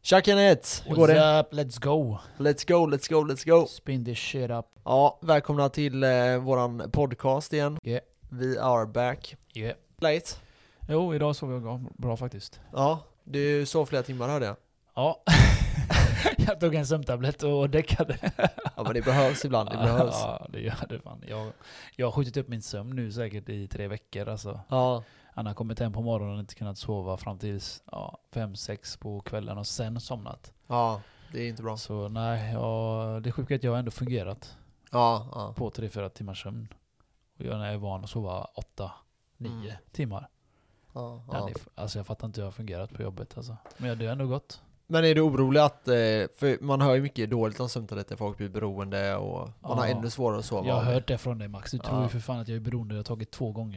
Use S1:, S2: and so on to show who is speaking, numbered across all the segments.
S1: Tja Kenneth! Hur går det?
S2: What's up? Let's go!
S1: Let's go, let's go, let's go!
S2: Spin this shit up.
S1: Ja, välkomna till eh, våran podcast igen.
S2: Yeah.
S1: We are back.
S2: Yeah.
S1: Late.
S2: Jo, idag sov jag bra, bra faktiskt.
S1: Ja, du sov flera timmar hörde jag.
S2: Ja. jag tog en sömntablett och däckade.
S1: Ja men det behövs ibland, det behövs.
S2: ja, det gör det fan. Jag, jag har skjutit upp min sömn nu säkert i tre veckor alltså.
S1: Ja,
S2: Han har kommit hem på morgonen och inte kunnat sova fram tills ja, fem, sex på kvällen och sen somnat.
S1: ja, det är inte bra.
S2: Så nej, ja, det sjuka är att jag har ändå fungerat
S1: Ja, ja.
S2: på tre, fyra timmars sömn. Och jag är van att sova åtta, nio
S1: Mm.
S2: timmar.
S1: ja,
S2: Ja.
S1: ja.
S2: det är f- Alltså jag fattar inte hur jag har fungerat på jobbet alltså. Men det har ändå gått.
S1: Men är du orolig att, eh, för man hör ju mycket dåligt om sömntabletter, folk blir beroende och man har
S2: Ja.
S1: ännu svårare att sova.
S2: Jag har hört det från dig Max. Du
S1: Ja.
S2: tror ju för fan att jag är beroende. Jag har tagit två gånger.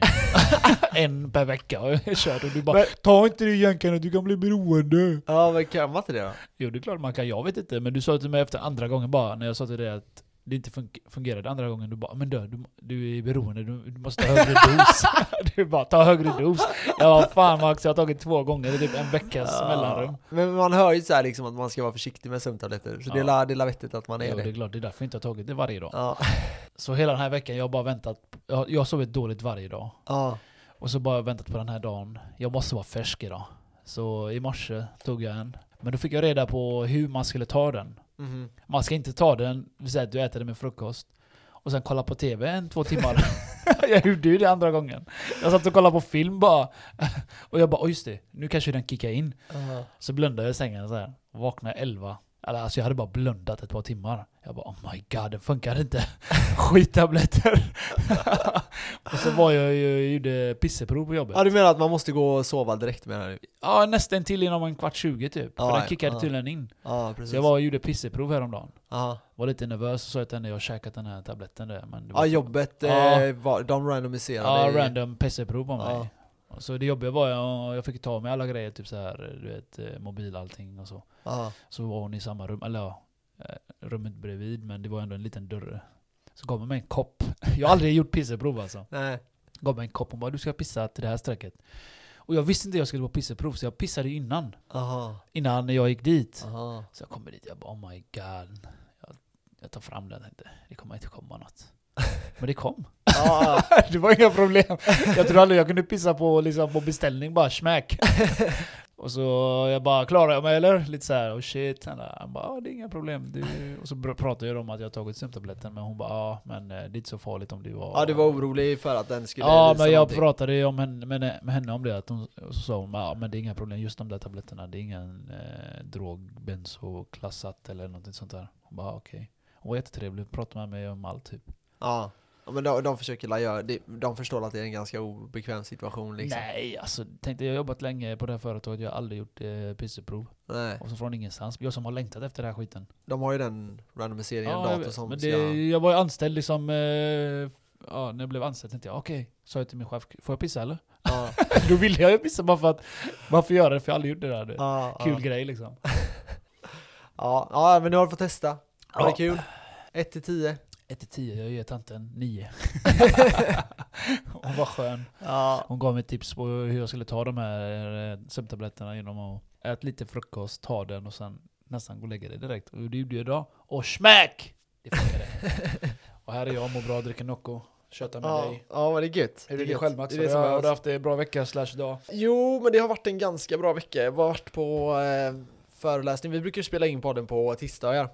S2: en per vecka har jag kört och du bara
S1: Men-
S2: Ta inte det jänkarna, du kan bli beroende.
S1: Ja men kan man inte det då?
S2: Jo det är klart man kan, jag vet inte. Men du sa till mig efter andra gången bara, när jag sa till dig att det inte fun- fungerade andra gången. Du bara Men du, du, du är beroende, du, du måste ta högre dos. du bara ta högre dos. Jag bara fan Max, jag har tagit två gånger. Det är typ en veckas
S1: Ja.
S2: mellanrum.
S1: Men man hör ju så här liksom att man ska vara försiktig med sömntabletter, så det är
S2: Ja.
S1: la- det är la vettigt att man är
S2: Jo,
S1: det.
S2: det är klart, det är därför jag inte har tagit det varje dag.
S1: Ja,
S2: Så hela den här veckan, jag har bara väntat. Jag har, jag har sovit dåligt varje dag.
S1: ja,
S2: Och så bara väntat på den här dagen. Jag måste vara färsk idag. Så i morse tog jag en. Men då fick jag reda på hur man skulle ta den.
S1: mhm.
S2: Man ska inte ta den, vi säger att du äter den med frukost. Och sen kolla på TV en, två timmar. jag gjorde ju det andra gången. Jag satt och kollade på film bara. och jag bara, oh, just det, nu kanske den kickar in.
S1: Ja.
S2: Så blundade jag i sängen så här. Vaknade 11. Eller, Alltså jag hade bara blundat ett par timmar. Jag bara oh my god, den funkar inte. Skittabletter. och så var jag ju, gjorde pisseprov på jobbet.
S1: Ja du menar att man måste gå och sova direkt menar du?
S2: Ja nästan till inom en kvart 20 typ.
S1: Ja,
S2: för
S1: ja,
S2: den kickade
S1: ja.
S2: tydligen in.
S1: Ja precis.
S2: Så jag var och gjorde pisseprov häromdagen.
S1: ja.
S2: Var lite nervös och sa att jag hade käkat den här tabletten där. Men det var
S1: ja jobbet,
S2: Ja.
S1: Eh, var, de randomiserade.
S2: Ja,
S1: i-
S2: random pisseprov på mig.
S1: Ja.
S2: Så det jobbiga var jag, jag fick ta med alla grejer, typ så här, du vet, eh, mobil allting och så.
S1: Ja.
S2: Så var hon i samma rum, eller ja, eh, rummet bredvid men det var ändå en liten dörr. Så gav hon mig en kopp. Jag har aldrig gjort pisseprov alltså.
S1: Nej.
S2: Gav mig en kopp, hon bara du ska pissa till det här strecket. Och jag visste inte jag skulle på pisseprov så jag pissade ju innan.
S1: Aha.
S2: Innan jag gick dit.
S1: Aha.
S2: Så jag kommer dit, jag bara oh my god. Jag, jag tar fram den, tänkte, det kommer inte komma något. Men det kom.
S1: Ja,
S2: Det var inga problem. Jag tror aldrig jag kunde pissa på, liksom, på beställning bara, smack. Och så jag bara, klarar jag mig eller? Lite så här, oh shit. Han bara, han bara, "Ja, det är inga problem. Du... Och så br- pratade jag om att jag har tagit sömntabletten, men hon bara, ja men eh, det är inte så farligt om du var...
S1: ja du var orolig för att den skulle
S2: Ja
S1: visa
S2: men jag
S1: någonting.
S2: pratade ju om henne, med, med henne om det, att hon, och så sa hon ja men det är inga problem, just de där tabletterna, det är ingen eh, drog, benzoklassat eller någonting sånt där. Hon bara "Ah, okej. Hon var jättetrevlig, pratade med mig om allt typ.
S1: Ja. Ja, men de, de försöker la göra, de, de förstår att det är en ganska obekväm situation liksom.
S2: Nej, alltså tänkte jag har jobbat länge på det här företaget, jag har aldrig gjort eh, pisseprov.
S1: Nej.
S2: Och så från ingenstans. Jag som har längtat efter den här skiten.
S1: De har ju den randomiseringen,
S2: Ja, jag
S1: dator
S2: vet,
S1: som
S2: men
S1: ska...
S2: det, jag var ju anställd liksom, eh, ja, när jag blev anställd tänkte jag okej, sa jag till min chef, får jag pissa eller?
S1: Ja.
S2: Då ville jag ju pissa bara för att, varför göra det? För jag har aldrig gjort det där. du.
S1: Ja,
S2: Kul
S1: ja.
S2: grej liksom.
S1: Ja, ja, men nu har du fått testa. Var det
S2: Ja.
S1: kul? 1 till 10.
S2: 1 till 10, jag ger tanten 9. Hon var skön.
S1: Ja.
S2: Hon gav mig tips på hur jag skulle ta de här eh, sömntabletterna genom att äta lite frukost, ta den och sen nästan gå och lägga dig direkt. Och det gjorde jag idag. Och smack! Det funkade. och här är jag, mår bra, dricker Nocco, tjötar med
S1: Ja,
S2: dig.
S1: ja, men det är gött.
S2: Hur
S1: Det
S2: är
S1: är
S2: det
S1: gött.
S2: själv Max?
S1: Det är det som
S2: har, du- har
S1: behövs.
S2: du haft en bra vecka slash dag?
S1: Jo, men det har varit en ganska bra vecka. Jag har varit på eh, föreläsning. Vi brukar ju spela in podden på tisdagar.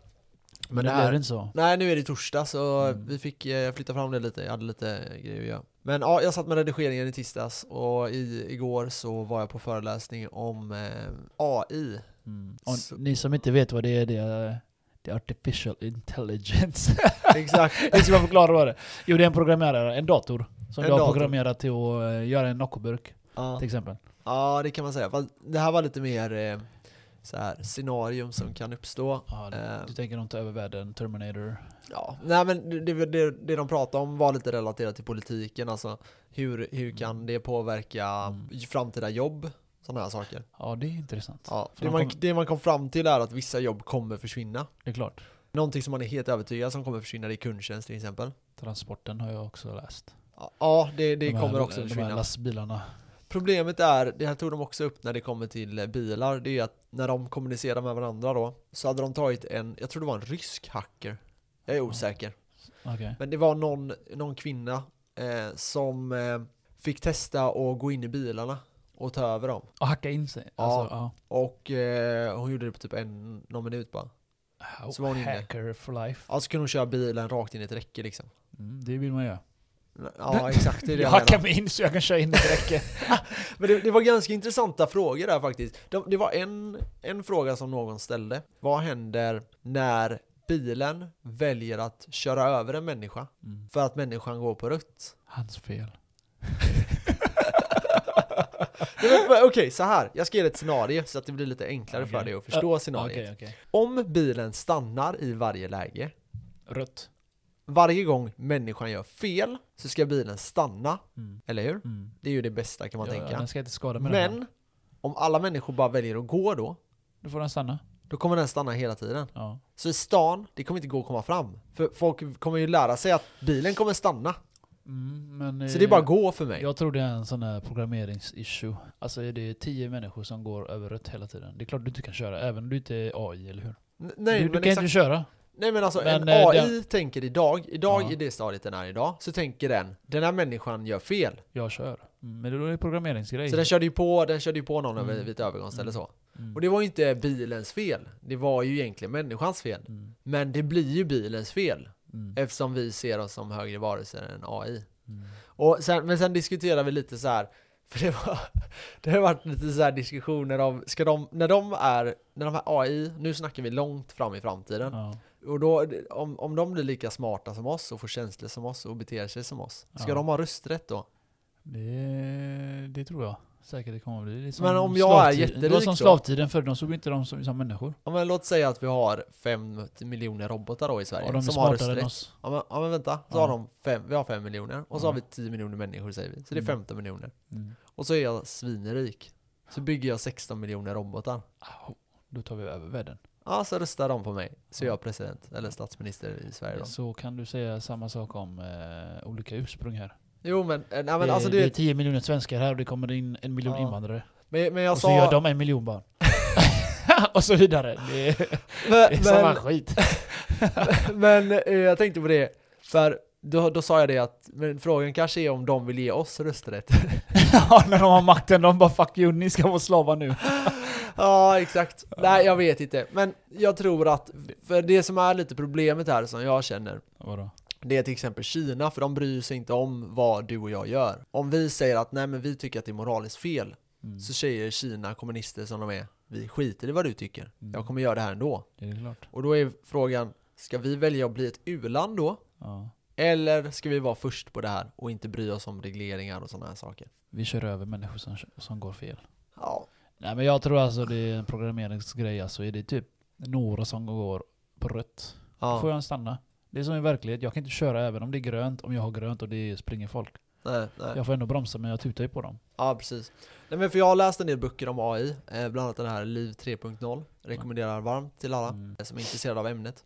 S1: Men,
S2: Men
S1: det
S2: det blev
S1: här...
S2: inte så.
S1: Nej, nu är det torsdag så
S2: Mm.
S1: vi fick eh, flytta fram det lite. Jag hade lite grejer att göra. Men ja, jag satt med redigeringen i tisdags och i, igår så var jag på föreläsning om eh, AI.
S2: Mm. Och
S1: Så-
S2: ni som inte vet vad det är, det är, det är artificial intelligence.
S1: Exakt.
S2: Jag ska bara förklara vad det är. Jo det är en programmerare, en dator. Som
S1: En
S2: du har
S1: dator.
S2: programmerat till att eh, göra en Noccoburk
S1: Ja.
S2: till exempel.
S1: ja, det kan man säga. Fast det här var lite mer eh, så här, scenarium som kan uppstå.
S2: Ja, du-
S1: Eh.
S2: du tänker nog inte över världen, Terminator.
S1: Ja, nej men det, det, det de pratade om var lite relaterat till politiken, alltså hur, hur kan det påverka
S2: Mm.
S1: framtida jobb? Sådana här saker.
S2: Ja, det är intressant.
S1: Ja,
S2: För
S1: det,
S2: de
S1: man,
S2: kommer-
S1: det man kom fram till är att vissa jobb kommer försvinna.
S2: Det är klart.
S1: Någonting som man är helt övertygad som kommer försvinna det är kundtjänst till exempel.
S2: Transporten har jag också läst.
S1: Ja, Ja, det, det
S2: De här-
S1: kommer också
S2: De här
S1: försvinna.
S2: lastbilarna.
S1: Problemet är, det här tog de också upp när det kommer till eh, bilar, det är att när de kommunicerar med varandra då, så hade de tagit en, jag tror det var en rysk hacker. Jag är osäker.
S2: Okej.
S1: Men det var någon, någon kvinna eh, som eh, fick testa att gå in i bilarna och ta över dem.
S2: Och hacka in sig?
S1: Ja.
S2: Alltså, ja.
S1: Och eh, hon gjorde det på typ en, någon minut bara. Så var hon inne.
S2: hacker for life.
S1: Alltså kunde hon köra bilen rakt in i ett räcke liksom.
S2: Mm, det vill man göra.
S1: Ja exakt, det är det
S2: Jag
S1: jag
S2: hackar
S1: menar.
S2: mig in så jag kan köra in i ett räcke.
S1: Men det, det var ganska intressanta frågor där faktiskt. De, det var en, en fråga som någon ställde. Vad händer när bilen väljer att köra över en människa
S2: Mm.
S1: för att människan går på rött?
S2: Hans fel.
S1: Nej, men Okej, så här. Jag ska ge dig ett scenario så att det blir lite enklare för
S2: Okej.
S1: dig att förstå scenariot.
S2: Okej, okej.
S1: Om bilen stannar i varje läge,
S2: Rött.
S1: varje gång människan gör fel så ska bilen stanna,
S2: Mm.
S1: eller hur?
S2: Mm.
S1: Det är ju det bästa kan man
S2: Ja,
S1: tänka.
S2: Den ska inte skada mig. den här.
S1: Men om alla människor bara väljer att gå då,
S2: Då får den stanna.
S1: då kommer den stanna hela tiden.
S2: Ja.
S1: Så i stan, det kommer inte gå att komma fram. För folk kommer ju lära sig att bilen kommer stanna.
S2: Mm, men,
S1: Så det är bara
S2: eh,
S1: gå för mig.
S2: Jag tror det är en sån här programmerings-issue. Alltså är det är tio människor som går över rött hela tiden. Det är klart du inte kan köra, även om du inte är AI, eller hur?
S1: N- Nej
S2: du, du
S1: men,
S2: kan
S1: exakt,
S2: inte köra.
S1: nej men alltså
S2: Men,
S1: en
S2: eh,
S1: AI tänker idag, idag
S2: Ja.
S1: i det stadiet den är idag, så tänker den den här människan gör fel.
S2: Jag kör. Mm, men då är det programmeringsgrej.
S1: Så den körde ju på, den körde ju på någon över
S2: Mm.
S1: vid ett övergångsställe
S2: Mm.
S1: så.
S2: Mm.
S1: Och det var ju inte bilens fel. Det var ju egentligen människans fel.
S2: Mm.
S1: Men det blir ju bilens fel
S2: Mm.
S1: eftersom vi ser oss som högre varelser än AI.
S2: Mm.
S1: Och sen, men sen diskuterar vi lite så här, för det, var, det har varit lite så här diskussioner om, ska de, när de är, när de här AI, nu snackar vi långt fram i framtiden,
S2: Ja.
S1: och då, om, om de blir lika smarta som oss och får känslor som oss och beter sig som oss, ska
S2: Ja.
S1: de ha rösträtt då?
S2: Det, det tror jag. Säkert det kommer bli. Det är som
S1: Men om jag är
S2: slavtid-
S1: jätterik
S2: Det var som
S1: då?
S2: slavtiden förr, de såg inte dem som, som människor.
S1: Ja, men låt säga att vi har 5 miljoner robotar då i Sverige
S2: Och de är
S1: som har
S2: smartare än
S1: rösträtt.
S2: oss.
S1: Ja men, ja men vänta, så
S2: Ja.
S1: har de fem, vi har 5 miljoner och så
S2: Ja.
S1: har vi 10 miljoner människor säger vi, så det är
S2: Mm.
S1: 15 miljoner.
S2: Mm.
S1: Och så är jag svinrik. Så bygger jag 16 miljoner robotar.
S2: Au, Då tar vi över världen.
S1: Ja, så röstar de på mig. Så är
S2: Ja.
S1: jag president, eller statsminister i Sverige då.
S2: Så kan du säga samma sak om eh, olika ursprung här.
S1: Jo men, eh, nej, men
S2: det,
S1: alltså
S2: det
S1: du
S2: är
S1: vet,
S2: 10 miljoner svenskar här och det kommer in en miljon
S1: Ja. Alltså-
S2: invandrare.
S1: men, men jag
S2: Och så gör
S1: sa...
S2: de en miljon barn. och så vidare. Det är, det är samma
S1: Men,
S2: skit.
S1: men, men eh, jag tänkte på det, för då, då sa jag det att, men frågan kanske är om de vill ge oss rösträtt.
S2: ja, när de har makten, de bara 'fuck you, ni ska vara slavar nu'
S1: ja, exakt. Nej, jag vet inte. Men jag tror att, för det som är lite problemet här som jag känner,
S2: Vadå?
S1: Det är till exempel Kina, för de bryr sig inte om vad du och jag gör. Om vi säger att nej men vi tycker att det är moraliskt fel,
S2: Mm.
S1: så säger Kina, kommunister som de är, vi skiter i vad du tycker.
S2: Mm.
S1: Jag kommer göra det här ändå.
S2: Det är klart.
S1: Och då är frågan, ska vi välja att bli ett u-land då?
S2: Ja.
S1: Eller ska vi vara först på det här och inte bry oss om regleringar och sådana här saker?
S2: Vi kör över människor som, som går fel.
S1: Ja,
S2: Nej men jag tror alltså det är en programmeringsgrej alltså. Är det typ några som går på rött, då får
S1: ja.
S2: jag stanna. Det är som i verklighet, jag kan inte köra även om det är grönt, om jag har grönt och det springer folk.
S1: Nej, nej.
S2: Jag får ändå bromsa men jag tutar ju på dem.
S1: Ja, precis. Nej, men för jag har läst en del böcker om AI, eh, bland annat den här Liv 3.0. Rekommenderar varmt till alla
S2: Mm.
S1: eh, som är intresserade av ämnet.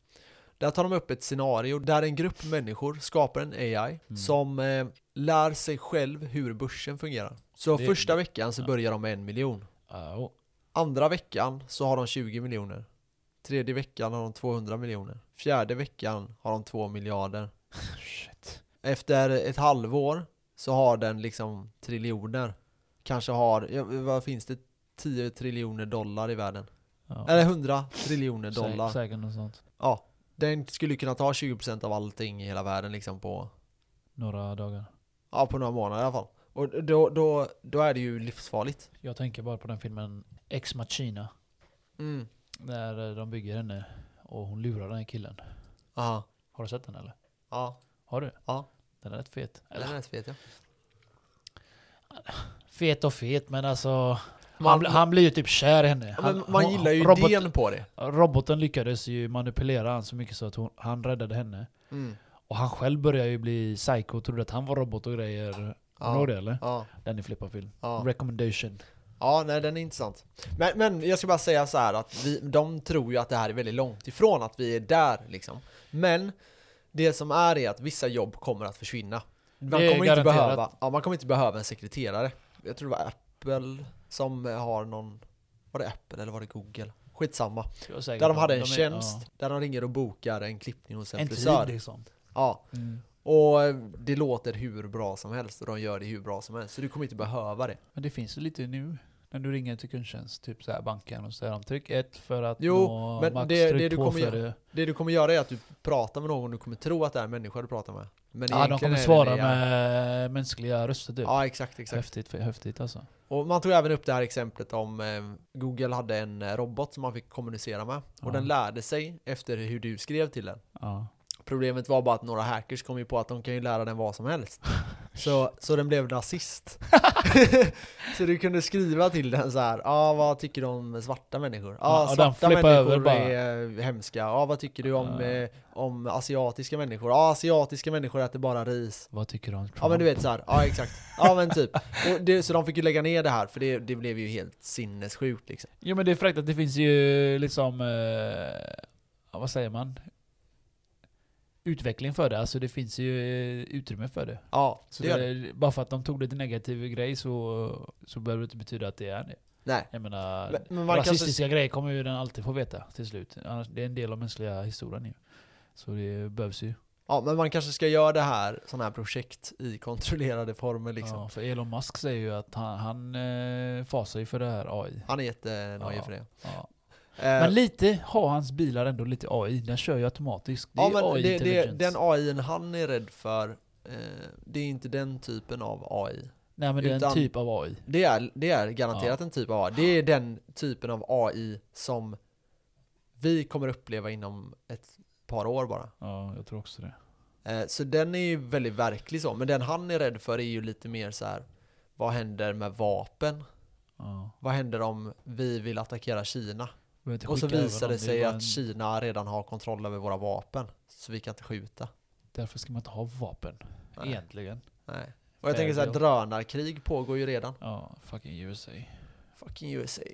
S1: Där tar de upp ett scenario där en grupp människor skapar en AI
S2: Mm.
S1: som eh, lär sig själv hur börsen fungerar. Så
S2: Det-
S1: första veckan så
S2: ja.
S1: börjar de med en miljon.
S2: Ja,
S1: Andra veckan så har de 20 miljoner. Tredje veckan har de 200 miljoner. Fjärde veckan har de 2 miljarder.
S2: shit.
S1: Efter ett halvår så har den liksom triljoner. Kanske har, ja, vad finns det? 10 triljoner dollar i världen.
S2: Ja.
S1: Eller 100 triljoner dollar.
S2: Sä- Säkert något sånt.
S1: Ja, den skulle kunna ta 20% av allting i hela världen liksom på,
S2: Några dagar.
S1: ja, på några månader i alla fall. Och då, då, då är det ju livsfarligt.
S2: Jag tänker bara på den filmen Ex Machina.
S1: Mm.
S2: Där eh, de bygger henne och hon lurar den här killen.
S1: Aha.
S2: Har du sett den eller?
S1: Ja,
S2: Har du?
S1: Ja.
S2: Den är rätt fet.
S1: eller
S2: Eller,
S1: rätt vet jag.
S2: fet och fet men alltså... han,
S1: Man,
S2: bli- han blir ju typ kär i henne.
S1: ja,
S2: Han,
S1: men man
S2: hon-
S1: gillar ju
S2: robot,
S1: idén på det.
S2: Roboten lyckades ju manipulera han så mycket så att hon, han räddade henne.
S1: Mm.
S2: Och han själv började ju bli psycho och trodde att han var robot och grejer. Kommer
S1: Ja,
S2: du ihåg det eller?
S1: ja,
S2: Den är flippad film.
S1: ja.
S2: Recommendation.
S1: ja, nej den är intressant. Men, men jag ska bara säga så här att vi, de tror ju att det här är väldigt långt ifrån att vi är där liksom. Men det som är är att vissa jobb kommer att försvinna. Man
S2: Det är
S1: kommer, inte
S2: garanterat.
S1: behöva, ja, man kommer inte behöva en sekreterare. Jag tror det var App- Apple som har någon, var det Apple eller var det Google? Skitsamma.
S2: Jag är säker
S1: Där de
S2: på-
S1: hade en
S2: är-
S1: tjänst,
S2: ja.
S1: där de ringer och bokar en klippning hos en,
S2: En
S1: frisör.
S2: tid liksom.
S1: Ja,
S2: Mm.
S1: och det låter hur bra som helst och de gör det hur bra som helst. Så du kommer inte behöva det.
S2: Men det finns ju lite nu. När du ringer till kundtjänst, typ så här banken och säger de tryck ett för att
S1: Jo,
S2: nå
S1: men
S2: max,
S1: det-
S2: tryck
S1: det du
S2: två
S1: kommer
S2: för
S1: göra-
S2: det.
S1: Det du kommer göra är att du pratar med någon du kommer tro att det är en människa du pratar med. Men
S2: Ja, de
S1: egentligen
S2: kommer
S1: är det
S2: svara
S1: det jag-
S2: med mänskliga röster typ.
S1: Ja, exakt, exakt.
S2: Häftigt, för- häftigt alltså.
S1: Och man tog även upp det här exemplet om eh, Google hade en eh, robot som man fick kommunicera med. Och
S2: Ja.
S1: den lärde sig efter hur du skrev till den.
S2: Ja.
S1: Problemet var bara att några hackers kom ju på att de kan ju lära den vad som helst. Så, så den blev nazist. så du kunde skriva till den så här, ja ah, vad tycker du om svarta människor? Ja,
S2: Ja,
S1: ah,
S2: och den
S1: svarta
S2: flippar över
S1: människor
S2: bara.
S1: är eh, hemska. Ja, ah, vad tycker du om,
S2: Ja.
S1: eh, om asiatiska människor? Ja, ah, asiatiska människor äter bara ris.
S2: Vad tycker du om Trump?
S1: Ja men du vet såhär, ja exakt. Ja men typ. Och det, så de fick ju lägga ner det här för det, det blev ju helt sinnessjukt liksom.
S2: Jo men det är fräckt att det finns ju liksom, eh, ja, vad säger man? Utveckling för det, alltså det finns ju eh, utrymme för det.
S1: Ja,
S2: Så
S1: det gör det.
S2: det, bara för att de tog lite negativ grej så, så behöver det inte betyda att det är det.
S1: Nej.
S2: Jag menar,
S1: Men, men man kan så,
S2: rasistiska grejer kommer ju den alltid få veta till slut. Annars, det är en del av mänskliga historien ju. Så det behövs ju.
S1: ja men man kanske ska göra det här, sådana här projekt i kontrollerade former liksom.
S2: Ja, för Elon Musk säger ju att han, han eh, fasar ju för det här AI.
S1: Han är jättenojig
S2: Ja.
S1: för det.
S2: Ja.
S1: Eh,
S2: Men lite har hans bilar ändå lite AI. Den kör ju automatiskt. Det
S1: ja
S2: är
S1: men
S2: AI
S1: det, det,
S2: intelligence.
S1: den AI n han är rädd för, eh, det är inte den typen av AI.
S2: Nej men det är
S1: utan-
S2: en typ av AI.
S1: Det är, det är garanterat en typ av AI. Det är den typen av AI som vi kommer uppleva inom ett par år bara.
S2: Ja, jag tror också det.
S1: Eh, Så den är ju väldigt verklig så, men den han är rädd för är ju lite mer så här. Vad händer med vapen?
S2: Ja.
S1: Vad händer om vi vill attackera Kina?
S2: Vi behöver inte
S1: Och så
S2: skicka över
S1: visar
S2: dem,
S1: det sig
S2: är
S1: att
S2: bara en-
S1: Kina redan har kontroll över våra vapen, så vi kan inte skjuta.
S2: Därför ska man inte ha vapen.
S1: Nej.
S2: Egentligen.
S1: Nej. Och jag
S2: Fair
S1: tänker så här,
S2: deal.
S1: drönarkrig pågår ju redan.
S2: Ja, fucking USA.
S1: Fucking USA.
S2: Ja,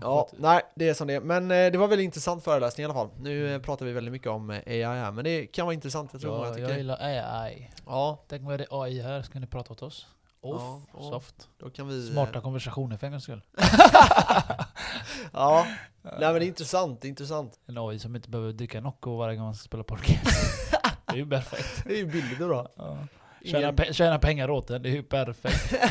S1: Ja,
S2: skit i-
S1: nej, det är som det är. Men eh, det var väldigt intressant föreläsning i alla fall. Nu eh, pratar vi väldigt mycket om eh, AI här, men det kan vara intressant. Jag tror många
S2: ja,
S1: tycker
S2: jag
S1: det.
S2: gillar AI.
S1: Ja,
S2: Tänk om vi hade AI här, ska ni prata åt oss? Off,
S1: Ja, ja.
S2: soft.
S1: då kan vi... eh,
S2: Smarta konversationer för en gångs skull.
S1: Ja, nej men det är intressant, det är intressant.
S2: En AI som inte behöver dricka Nocco varje gång man ska spela podcast. det är ju perfekt.
S1: Det är ju billigt och bra.
S2: Ja.
S1: Ingen-
S2: Tjäna, pe- tjäna pengar åt den, det är ju perfekt.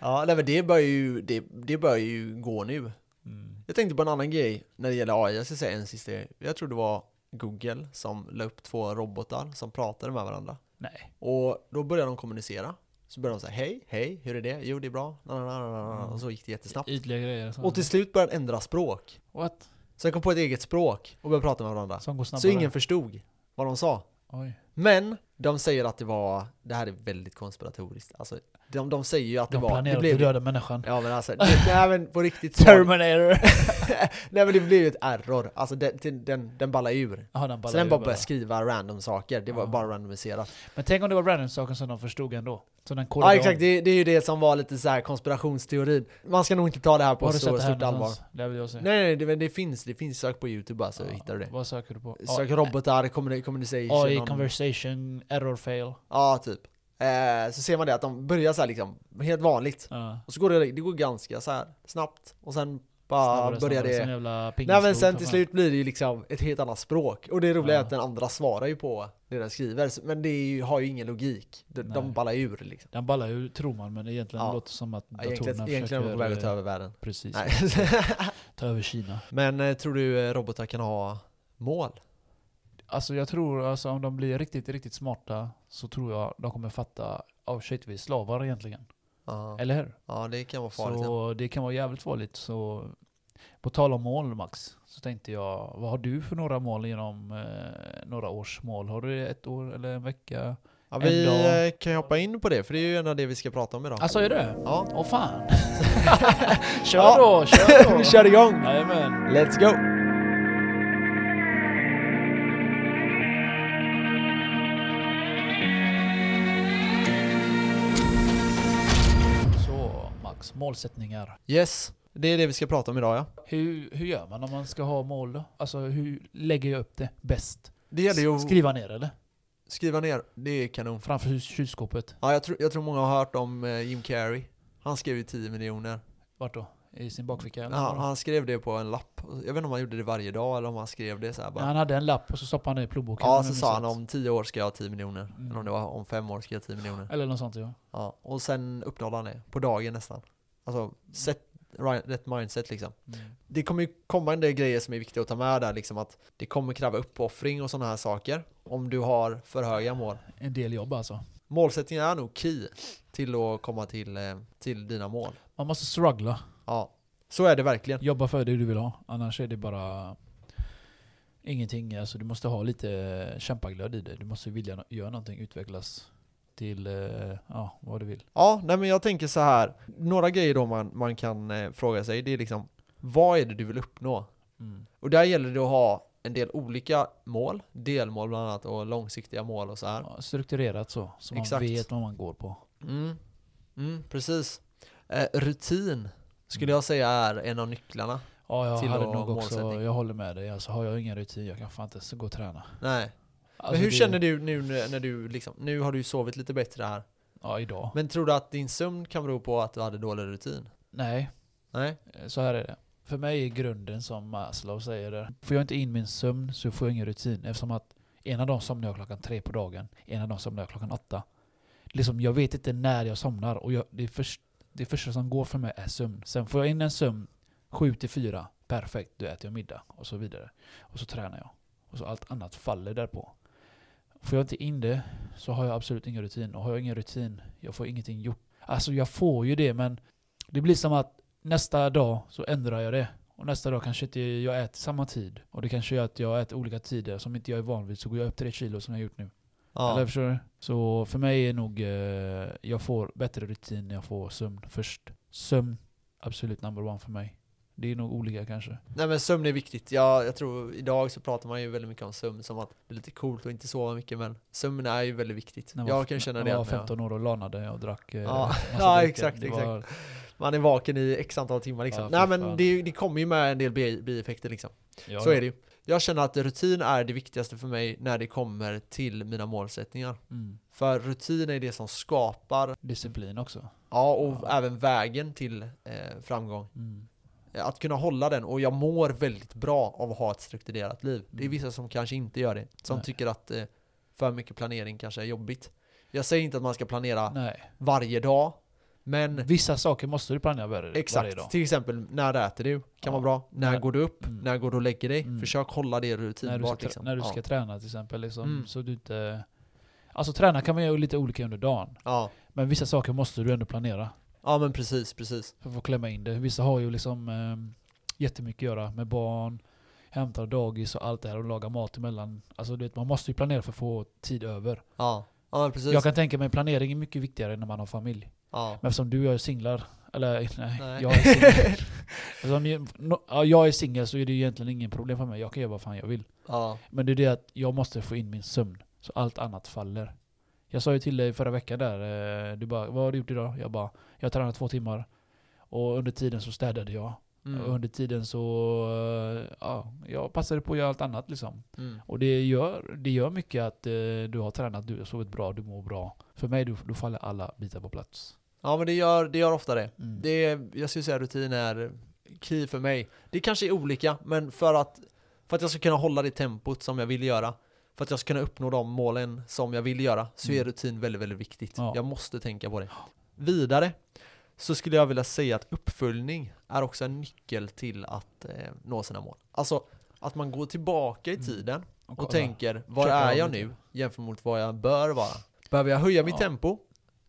S1: Ja, nej, men det börjar ju, det, det börjar ju gå nu.
S2: Mm.
S1: Jag tänkte på en annan grej när det gäller AI, jag ska säga en sista grej. Jag tror det var Google som la upp två robotar som pratade med varandra.
S2: Nej.
S1: Och då började de kommunicera. Så började de säga hej, hej, hur är det? Jo, det är bra. Na, na, na, na, na. Och så gick det jättesnabbt.
S2: Ytliga grejer.
S1: Och till slut började de ändra språk.
S2: What?
S1: Så de kom på ett eget språk och började prata med varandra.
S2: Som går snabbare.
S1: Så ingen förstod vad de sa.
S2: Oj.
S1: Men de säger att det var, det här är väldigt konspiratoriskt. Alltså, de, de säger ju att
S2: De
S1: det var, det
S2: planerar att
S1: blev
S2: döda människan.
S1: Ja men alltså, det, nej men på riktigt så
S2: Terminator!
S1: Nej men det blev ju ett error, alltså den, den, den, den ballar ur
S2: Ja, den ballar
S1: Så den
S2: ur
S1: bara började skriva random saker, det var
S2: Ja.
S1: bara randomiserat
S2: Men tänk om det var random-saken som de förstod ändå. Så den
S1: Ja
S2: kodade
S1: exakt,
S2: om.
S1: det, det är ju det som var lite så här konspirationsteorin Man ska nog inte ta det här på
S2: Har du sett
S1: så
S2: det här
S1: stort allvar
S2: någonstans? Det vill jag se.
S1: Nej nej, det, men det finns, det finns, sök på youtube bara så
S2: Ja,
S1: hittar du det
S2: Vad söker du på?
S1: Sök robotar, communi- communication
S2: AI
S1: om-
S2: conversation error fail.
S1: Ja typ eh, Så ser man det att de börjar så här liksom, helt vanligt
S2: Ja.
S1: Och så går det, det går ganska så här snabbt Och sen bara
S2: Snabbare,
S1: börjar
S2: snabbare,
S1: det
S2: som jävla
S1: Nej men
S2: pingisbord,
S1: sen
S2: för
S1: till
S2: fan.
S1: slut blir det ju liksom ett helt annat språk. Och det roliga är
S2: Ja.
S1: att den andra svarar ju på det den skriver. Så- Men det är ju, har ju ingen logik. De, de
S2: Nej.
S1: ballar ur liksom.
S2: Den ballar ju tror man, men egentligen
S1: Ja.
S2: låter det som att
S1: Ja,
S2: datorerna
S1: Egentligen, egentligen är de på väg
S2: försöker... eh,
S1: att ta över världen.
S2: Precis.
S1: Nej.
S2: Ta över Kina.
S1: men eh, tror du eh, robotar kan ha mål?
S2: Alltså jag tror, alltså, om de blir riktigt, riktigt smarta så tror jag de kommer fatta, oh shit vi är slavar egentligen.
S1: Ja,
S2: Eller hur?
S1: ja det kan vara farligt. ja.
S2: Så det kan vara jävligt farligt. Så på tal om mål Max, så tänkte jag, vad har du för några mål genom eh, några års mål? Har du ett år eller en vecka?
S1: Ja,
S2: en
S1: vi
S2: dag.
S1: eh, kan ju hoppa in på det, för det är ju en av det vi ska prata om idag.
S2: Alltså är det?
S1: Ja,
S2: Åh fan! kör
S1: Ja.
S2: då, kör då!
S1: vi kör igång!
S2: Jajamän!
S1: Let's go!
S2: Så Max, målsättningar.
S1: Yes, det är det vi ska prata om idag ja.
S2: Hur, hur gör man om man ska ha mål då? Alltså hur lägger jag upp det bäst?
S1: Det gäller ju att
S2: Skriva ner eller?
S1: skriva ner, det är kanon.
S2: Framför kyl- kylskåpet?
S1: Ja, jag, tror- jag tror många har hört om eh, Jim Carrey. Han skrev ju 10 miljoner.
S2: Vart då? I sin bakficka? eller
S1: Han,
S2: vadå?
S1: han skrev det på en lapp. Jag vet inte om han gjorde det varje dag eller om han skrev det så här
S2: Ja,
S1: bara.
S2: han hade en lapp och så stoppade han det i plånboken. om
S1: Ja,
S2: jag
S1: så
S2: minns
S1: sa han
S2: rätt.
S1: om 10 år ska jag ha 10 miljoner.
S2: Mm.
S1: Eller om det var om 5 år ska jag ha 10 miljoner.
S2: Eller något sånt ja.
S1: Ja, och sen uppnådde han det. På dagen nästan. Alltså, set, right, rätt mindset liksom.
S2: Mm.
S1: Det kommer ju komma en del grejer som är viktiga att ta med där. Liksom att det kommer kräva uppoffring och sådana här saker. Om du har för höga mål.
S2: En del jobb alltså.
S1: Målsättningen är nog key till att komma till, eh, till dina mål.
S2: Man måste struggla.
S1: Ja, så är det verkligen.
S2: Jobba för det du vill ha. Annars är det bara ingenting. Alltså, du måste ha lite kämpaglöd i det. Du måste vilja no- göra någonting, utvecklas till eh, ja, vad du vill.
S1: Ja, nej men jag tänker så här. Några grejer då man, man kan eh, fråga sig. Det är liksom, vad är det du vill uppnå?
S2: Mm.
S1: Och där gäller det att ha en del olika mål, delmål bland annat och långsiktiga mål och så här.
S2: Ja, strukturerat så. Så man
S1: Exakt.
S2: vet vad man går på.
S1: Mm. Mm, precis. Eh, rutin skulle jag säga är en av nycklarna.
S2: Ja, jag
S1: Till
S2: hade
S1: att
S2: nog också,
S1: målsättning.
S2: jag håller med dig. Alltså, har jag ingen rutin, jag kan fan inte ens gå och träna.
S1: Nej.
S2: Alltså,
S1: men hur
S2: det-
S1: känner du nu när när du liksom, nu har du ju sovit lite bättre här.
S2: Ja, idag.
S1: Men tror du att din sömn kan bero på att du hade dålig rutin?
S2: Nej,
S1: Nej?
S2: Eh, så här är det. För mig är grunden som Maslow säger där. Får jag inte in min sömn så får jag ingen rutin. Eftersom att ena dagen somnar jag klockan tre på dagen. Ena dagen somnar jag klockan åtta. Liksom, jag vet inte när jag somnar. Och jag, det, först, det första som går för mig är sömn. Sen får jag in en sömn sju till fyra. Perfekt, då äter jag middag. Och så vidare. Och så tränar jag. Och så allt annat faller därpå. Får jag inte in det så har jag absolut ingen rutin. Och har jag ingen rutin, jag får ingenting gjort. Alltså jag får ju det men det blir som att nästa dag så ändrar jag det. Och nästa dag kanske inte jag äter samma tid. Och det kanske gör att jag äter olika tider som inte jag är van vid. Så går jag upp tre kilo som jag har gjort nu.
S1: Ja.
S2: Eller förstår du? Så för mig är nog, eh, jag får bättre rutin när jag får sömn först. Sömn, absolut number one för mig. Det är nog olika kanske.
S1: Nej men sömn är viktigt. Jag, jag tror idag så pratar man ju väldigt mycket om sömn som att det är lite coolt att inte sova mycket men sömn är ju väldigt viktigt.
S2: När
S1: jag kan ju känna
S2: när
S1: det.
S2: Jag var
S1: att när jag-
S2: 15 år och lanade och drack eh,
S1: Ja.
S2: massa
S1: Ja,
S2: drycker.
S1: exakt,
S2: Det var-
S1: Man är vaken i x antal timmar liksom.
S2: Ja, fy
S1: Nej men
S2: fan.
S1: det, är ju- det kommer ju med en del bi- bieffekter liksom.
S2: Ja,
S1: Så
S2: ja.
S1: är det ju. Jag känner att rutin är det viktigaste för mig när det kommer till mina målsättningar.
S2: Mm.
S1: För rutin är det som skapar,
S2: Disciplin också.
S1: ja och
S2: Ja.
S1: även vägen till eh, framgång.
S2: Mm.
S1: Eh, Att kunna hålla den och jag mår väldigt bra av att ha ett strukturerat liv. Det är
S2: Mm.
S1: vissa som kanske inte gör det. Som
S2: Nej.
S1: tycker att eh, för mycket planering kanske är jobbigt. Jag säger inte att man ska planera
S2: Nej.
S1: varje dag, men
S2: Vissa saker måste du planera var- varje dag.
S1: Mm. Exakt, till exempel när äter du? Kan
S2: Ja.
S1: vara bra. När
S2: När-
S1: går du upp?
S2: Mm.
S1: När går du och lägger dig?
S2: Mm.
S1: Försök hålla det
S2: när du ska,
S1: rutinbart.
S2: trä-
S1: Liksom.
S2: när du ska
S1: ja.
S2: träna till exempel. Liksom,
S1: Mm.
S2: så du inte, alltså träna kan man göra lite olika under dagen.
S1: Ja.
S2: Men vissa saker måste du ändå planera.
S1: ja, men precis, precis.
S2: För att få klämma in det. Vissa har ju liksom eh, jättemycket att göra med barn, hämta dagis och allt det här och laga mat emellan. Alltså du vet, man måste ju planera för att få tid över.
S1: Ja, ja men precis.
S2: Jag kan tänka mig planering är mycket viktigare när man har familj.
S1: Ja.
S2: Men eftersom du och jag är singlar, eller nej,
S1: Nej.
S2: jag är singel. Eftersom ju- no, ja, jag är singel så är det ju egentligen ingen problem för mig. Jag kan göra vad fan jag vill.
S1: Ja.
S2: Men det är det att jag måste få in min sömn. Så allt annat faller. Jag sa ju till dig förra veckan där, eh, du bara 'Vad har du gjort idag?' Jag bara 'Jag tränade två timmar' Och under tiden så städade jag. Och
S1: Mm.
S2: under tiden så, eh, ja, jag passade på att göra allt annat liksom.
S1: Mm.
S2: Och det gör, det gör mycket att eh, du har tränat, du har sovit bra, du mår bra. För mig, då, då faller alla bitar på plats.
S1: ja, men det gör, det gör ofta det.
S2: Mm.
S1: det är, jag skulle säga rutin är key för mig. Det kanske är olika, men för att, för att jag ska kunna hålla det tempot som jag vill göra, för att jag ska kunna uppnå de målen som jag vill göra, så är
S2: Mm.
S1: rutin väldigt, väldigt viktigt.
S2: Ja.
S1: Jag måste tänka på det. Vidare så skulle jag vilja säga att uppföljning är också en nyckel till att eh, nå sina mål. Alltså att man går tillbaka i
S2: Mm.
S1: tiden och
S2: kolla.
S1: tänker, var
S2: Checka
S1: är
S2: av
S1: jag
S2: lite.
S1: nu jämfört mot vad jag bör vara? Behöver jag höja mitt
S2: Ja.
S1: tempo?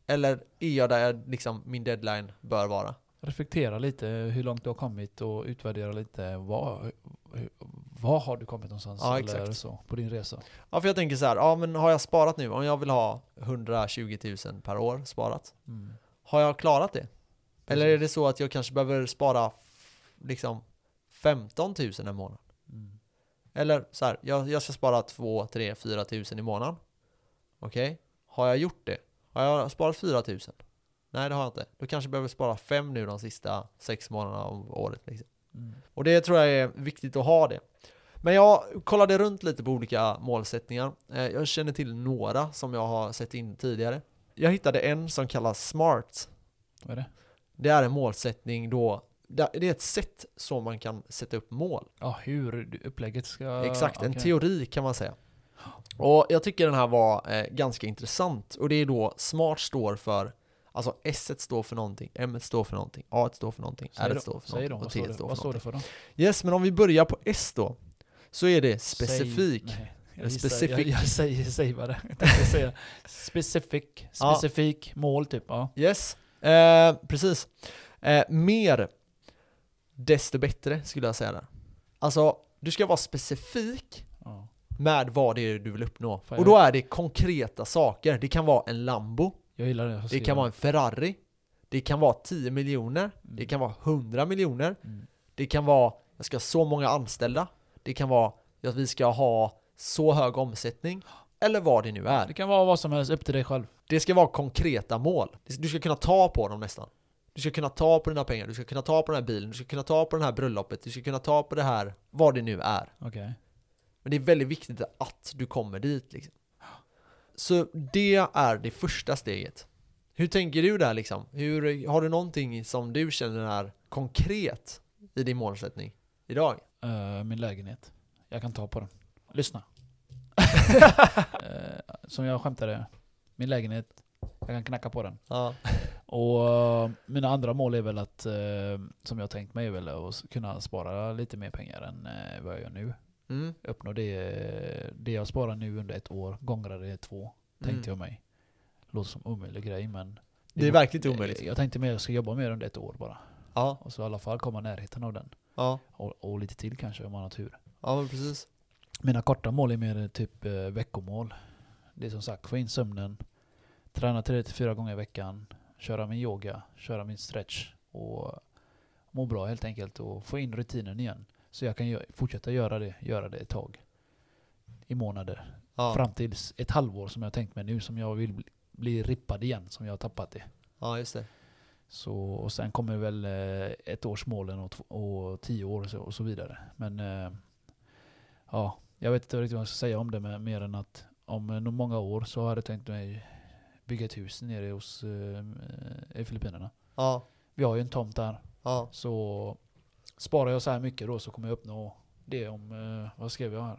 S1: Eller är jag där jag, liksom, min deadline bör vara?
S2: Reflektera lite hur långt du har kommit och utvärdera lite vad, hur- vad har du kommit någonstans
S1: Ja,
S2: eller
S1: exakt.
S2: så på din resa.
S1: Ja, för jag tänker så här, ja men har jag sparat nu? Om jag vill ha 120 000 per år sparat,
S2: Mm.
S1: har jag klarat det? Eller är
S2: Precis.
S1: det så att jag kanske behöver spara f- liksom 15 000 i månaden?
S2: Mm.
S1: Eller så här, jag, jag ska spara 2, 3, 4 000 i månaden. Okej, har jag gjort det? Har jag sparat 4 000? Nej, det har jag inte. Då kanske jag behöver spara 5 nu de sista 6 månaderna av året. Liksom.
S2: Mm.
S1: Och det tror jag är viktigt att ha det. Men jag kollade runt lite på olika målsättningar. Eh, Jag känner till några som jag har sett in tidigare. Jag hittade en som kallas SMART.
S2: Vad är det?
S1: Det är en målsättning då, det det är ett sätt som man kan sätta upp mål.
S2: Ja, hur du- upplägget ska...
S1: Exakt, en
S2: Eh, okej.
S1: teori kan man säga. Och jag tycker den här var eh, ganska intressant. Och det är då SMART står för, alltså S står för någonting, M står för någonting, A står för någonting,
S2: Säg
S1: R
S2: då,
S1: står för
S2: säg då,
S1: någonting och
S2: vad
S1: T
S2: står det-
S1: står för
S2: Vad står det
S1: någonting.
S2: för då?
S1: Yes, men om vi börjar på S då, så är det
S2: Säg-
S1: specifik.
S2: nej, jag
S1: Eller
S2: gissar-
S1: specific.
S2: Jag, jag säger, säger vad det jag tänkte säga. Specific,
S1: Ja.
S2: specifik mål typ. Ja.
S1: Yes, eh, precis. Eh, mer, desto bättre skulle jag säga där. Alltså, du ska vara specifik
S2: Ja.
S1: med vad det är du vill uppnå.
S2: Fan,
S1: Och
S2: jag-
S1: då är det konkreta saker. Det kan vara en Lambo,
S2: Jag gillar det. jag
S1: Det
S2: ser
S1: kan vara en Ferrari. Det kan vara 10 miljoner. Det kan vara 100 miljoner.
S2: Mm.
S1: Det kan vara, jag ska ha så många anställda. Det kan vara att vi ska ha så hög omsättning. Eller vad det nu
S2: det
S1: är.
S2: kan vara vad som helst, upp till dig själv.
S1: Det ska vara konkreta mål. Du ska kunna ta på dem nästan. Du ska kunna ta på dina pengar, du ska kunna ta på den här bilen, du ska kunna ta på det här bröllopet, du ska kunna ta på det här, vad det nu är.
S2: Okej.
S1: Men det är väldigt viktigt att du kommer dit liksom. Så det är det första steget. Hur tänker du där liksom? Hur, har du någonting som du känner är konkret i din målsättning idag?
S2: Eh, min lägenhet. Jag kan ta på den. Lyssna. Eh, som jag skämtade. Min lägenhet. Jag kan knacka på den.
S1: Ja,
S2: Och eh, mina andra mål är väl att, eh, som jag tänkt mig, är väl att s- kunna spara lite mer pengar än eh, vad jag gör nu.
S1: mm.
S2: Uppnå det, det jag sparar nu under ett år, gångrar det i två, tänkte jag mig. Låter som omöjlig grej men...
S1: Mm. Det är verkligen omöjligt.
S2: Jag tänkte mer att jag ska jobba mer under ett år bara.
S1: Mm. Ja,
S2: Och så i alla fall komma i närheten av den.
S1: ja,
S2: Och, och lite till kanske om man har tur.
S1: ja men precis.
S2: Mina korta mål är mer typ eh, veckomål. Det är som sagt, få in sömnen, träna 3-4 gånger i veckan, köra min yoga, köra min stretch och må bra helt enkelt och få in rutinen igen. Så jag kan gö- fortsätta göra det, göra det ett tag. I månader.
S1: Ja,
S2: Fram tills ett halvår som jag tänkt mig nu, som jag vill bli, bli rippad igen, som jag har tappat det.
S1: ja just det.
S2: Så, och sen kommer väl eh, ett års målen och, tv- och tio år och så, och så vidare. Men eh, ja, jag vet inte riktigt vad jag ska säga om det men mer än att om eh, nog många år så har jag tänkt mig bygga ett hus nere hos, eh, i Filippinerna.
S1: Ja,
S2: Vi har ju en tomt där.
S1: ja,
S2: Så sparar jag så här mycket då så kommer jag uppnå det om, eh, vad skrev jag här?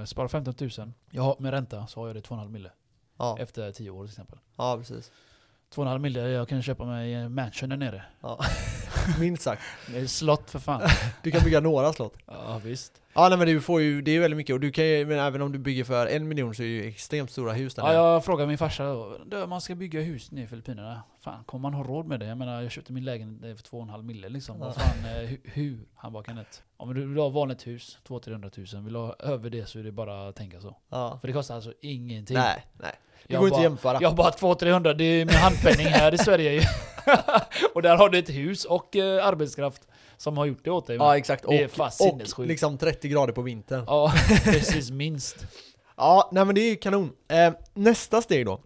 S2: Eh, spara 15 000. Jag har, med ränta så har jag det 2,5 mille.
S1: ja,
S2: Efter 10 år till exempel.
S1: ja precis.
S2: 2,5 mille, jag kan köpa mig en mansion där nere.
S1: Minst sagt.
S2: Det är slott för fan.
S1: Du kan bygga några slott.
S2: Ja visst.
S1: Ja, nej men du får ju, det är ju väldigt mycket och du kan ju, men även om du bygger för en miljon så är det ju extremt stora hus där
S2: Ja,
S1: nere.
S2: jag frågade min farsa då. "Du, Man ska bygga hus nere i Filippinerna. Fan, kommer man ha råd med det? Jag menar, jag köpte min lägenhet för 2,5 mille liksom. Vad
S1: Ja.
S2: fan, eh, hu- hur? Han bara, Kenneth. Om du vill ha vanligt hus, 200-300 000. Vill du ha över det så är det bara att tänka så.
S1: Ja.
S2: För det kostar alltså ingenting.
S1: Nej, nej. Det
S2: Jag
S1: går inte
S2: bara,
S1: att jämföra.
S2: Jag bara 200-300, det är min handpenning här i Sverige ju. och där har du ett hus och eh, arbetskraft som har gjort det åt dig.
S1: Ja exakt, och,
S2: Det är fast
S1: och
S2: sinnessjukt.
S1: liksom 30 grader på vintern. Ja,
S2: Ja, precis minst.
S1: nej men det är ju kanon. Eh, nästa steg då,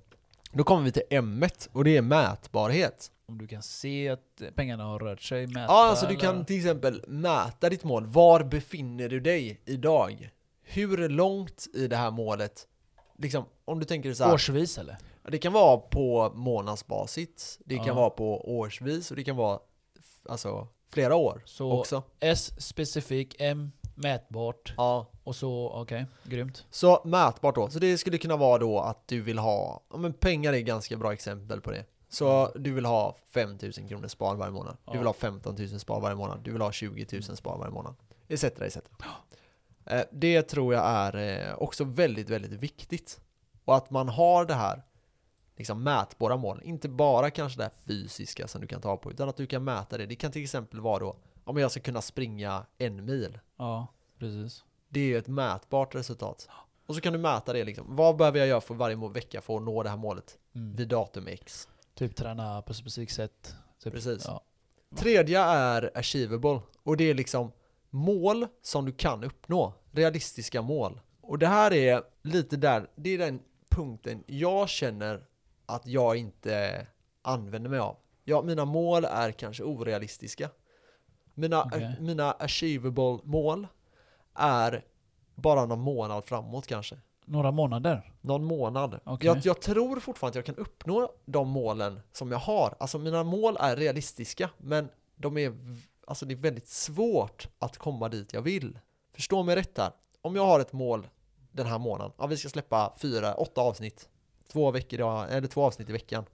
S1: då kommer vi till M och det är mätbarhet.
S2: Om du kan se att pengarna har rört sig, mäta
S1: Ja, alltså du
S2: eller-
S1: kan till exempel mäta ditt mål. Var befinner du dig idag? Hur långt i det här målet, liksom om du tänker så här,
S2: Årsvis eller?
S1: det kan vara på månadsbasis, det
S2: Ja.
S1: kan vara på årsvis och det kan vara f- alltså flera år
S2: Så
S1: också.
S2: S specifik, M mätbart
S1: Ja,
S2: och så okej, grymt.
S1: Så mätbart då. Så det skulle kunna vara då att du vill ha, ja men pengar är ett ganska bra exempel på det. Så du vill ha 5 000 kronor spar varje månad. Du
S2: Ja.
S1: vill ha 15 000 spar varje månad. Du vill ha 20 000 spar varje månad. Etc. etc. Eh, Det tror jag är eh, också väldigt, väldigt viktigt. Och att man har det här liksom mätbara målen. Inte bara kanske det här fysiska som du kan ta på, utan att du kan mäta det. Det kan till exempel vara då, om jag ska kunna springa en mil.
S2: Ja, precis.
S1: Det är ju ett mätbart resultat. Och så kan du mäta det liksom. Vad behöver jag göra för varje må- vecka för att nå det här målet?
S2: Mm.
S1: Vid datum X.
S2: Typ träna på specifikt sätt. Typ.
S1: Precis.
S2: Ja.
S1: Tredje är achievable. Och det är liksom mål som du kan uppnå. Realistiska mål. Och det här är lite där, det är den punkten jag känner att jag inte använder mig av. Ja, mina mål är kanske orealistiska. Mina,
S2: Okej.
S1: mina achievable mål är bara någon månad framåt kanske.
S2: Några månader?
S1: Någon månad.
S2: Okej.
S1: Jag, jag tror fortfarande att jag kan uppnå de målen som jag har. Alltså mina mål är realistiska, men de är, v- alltså det är väldigt svårt att komma dit jag vill. Förstå mig rätt här. Om jag har ett mål den här månaden, ja, vi ska släppa fyra, åtta avsnitt, två, veckor, i dag- eller två avsnitt i veckan.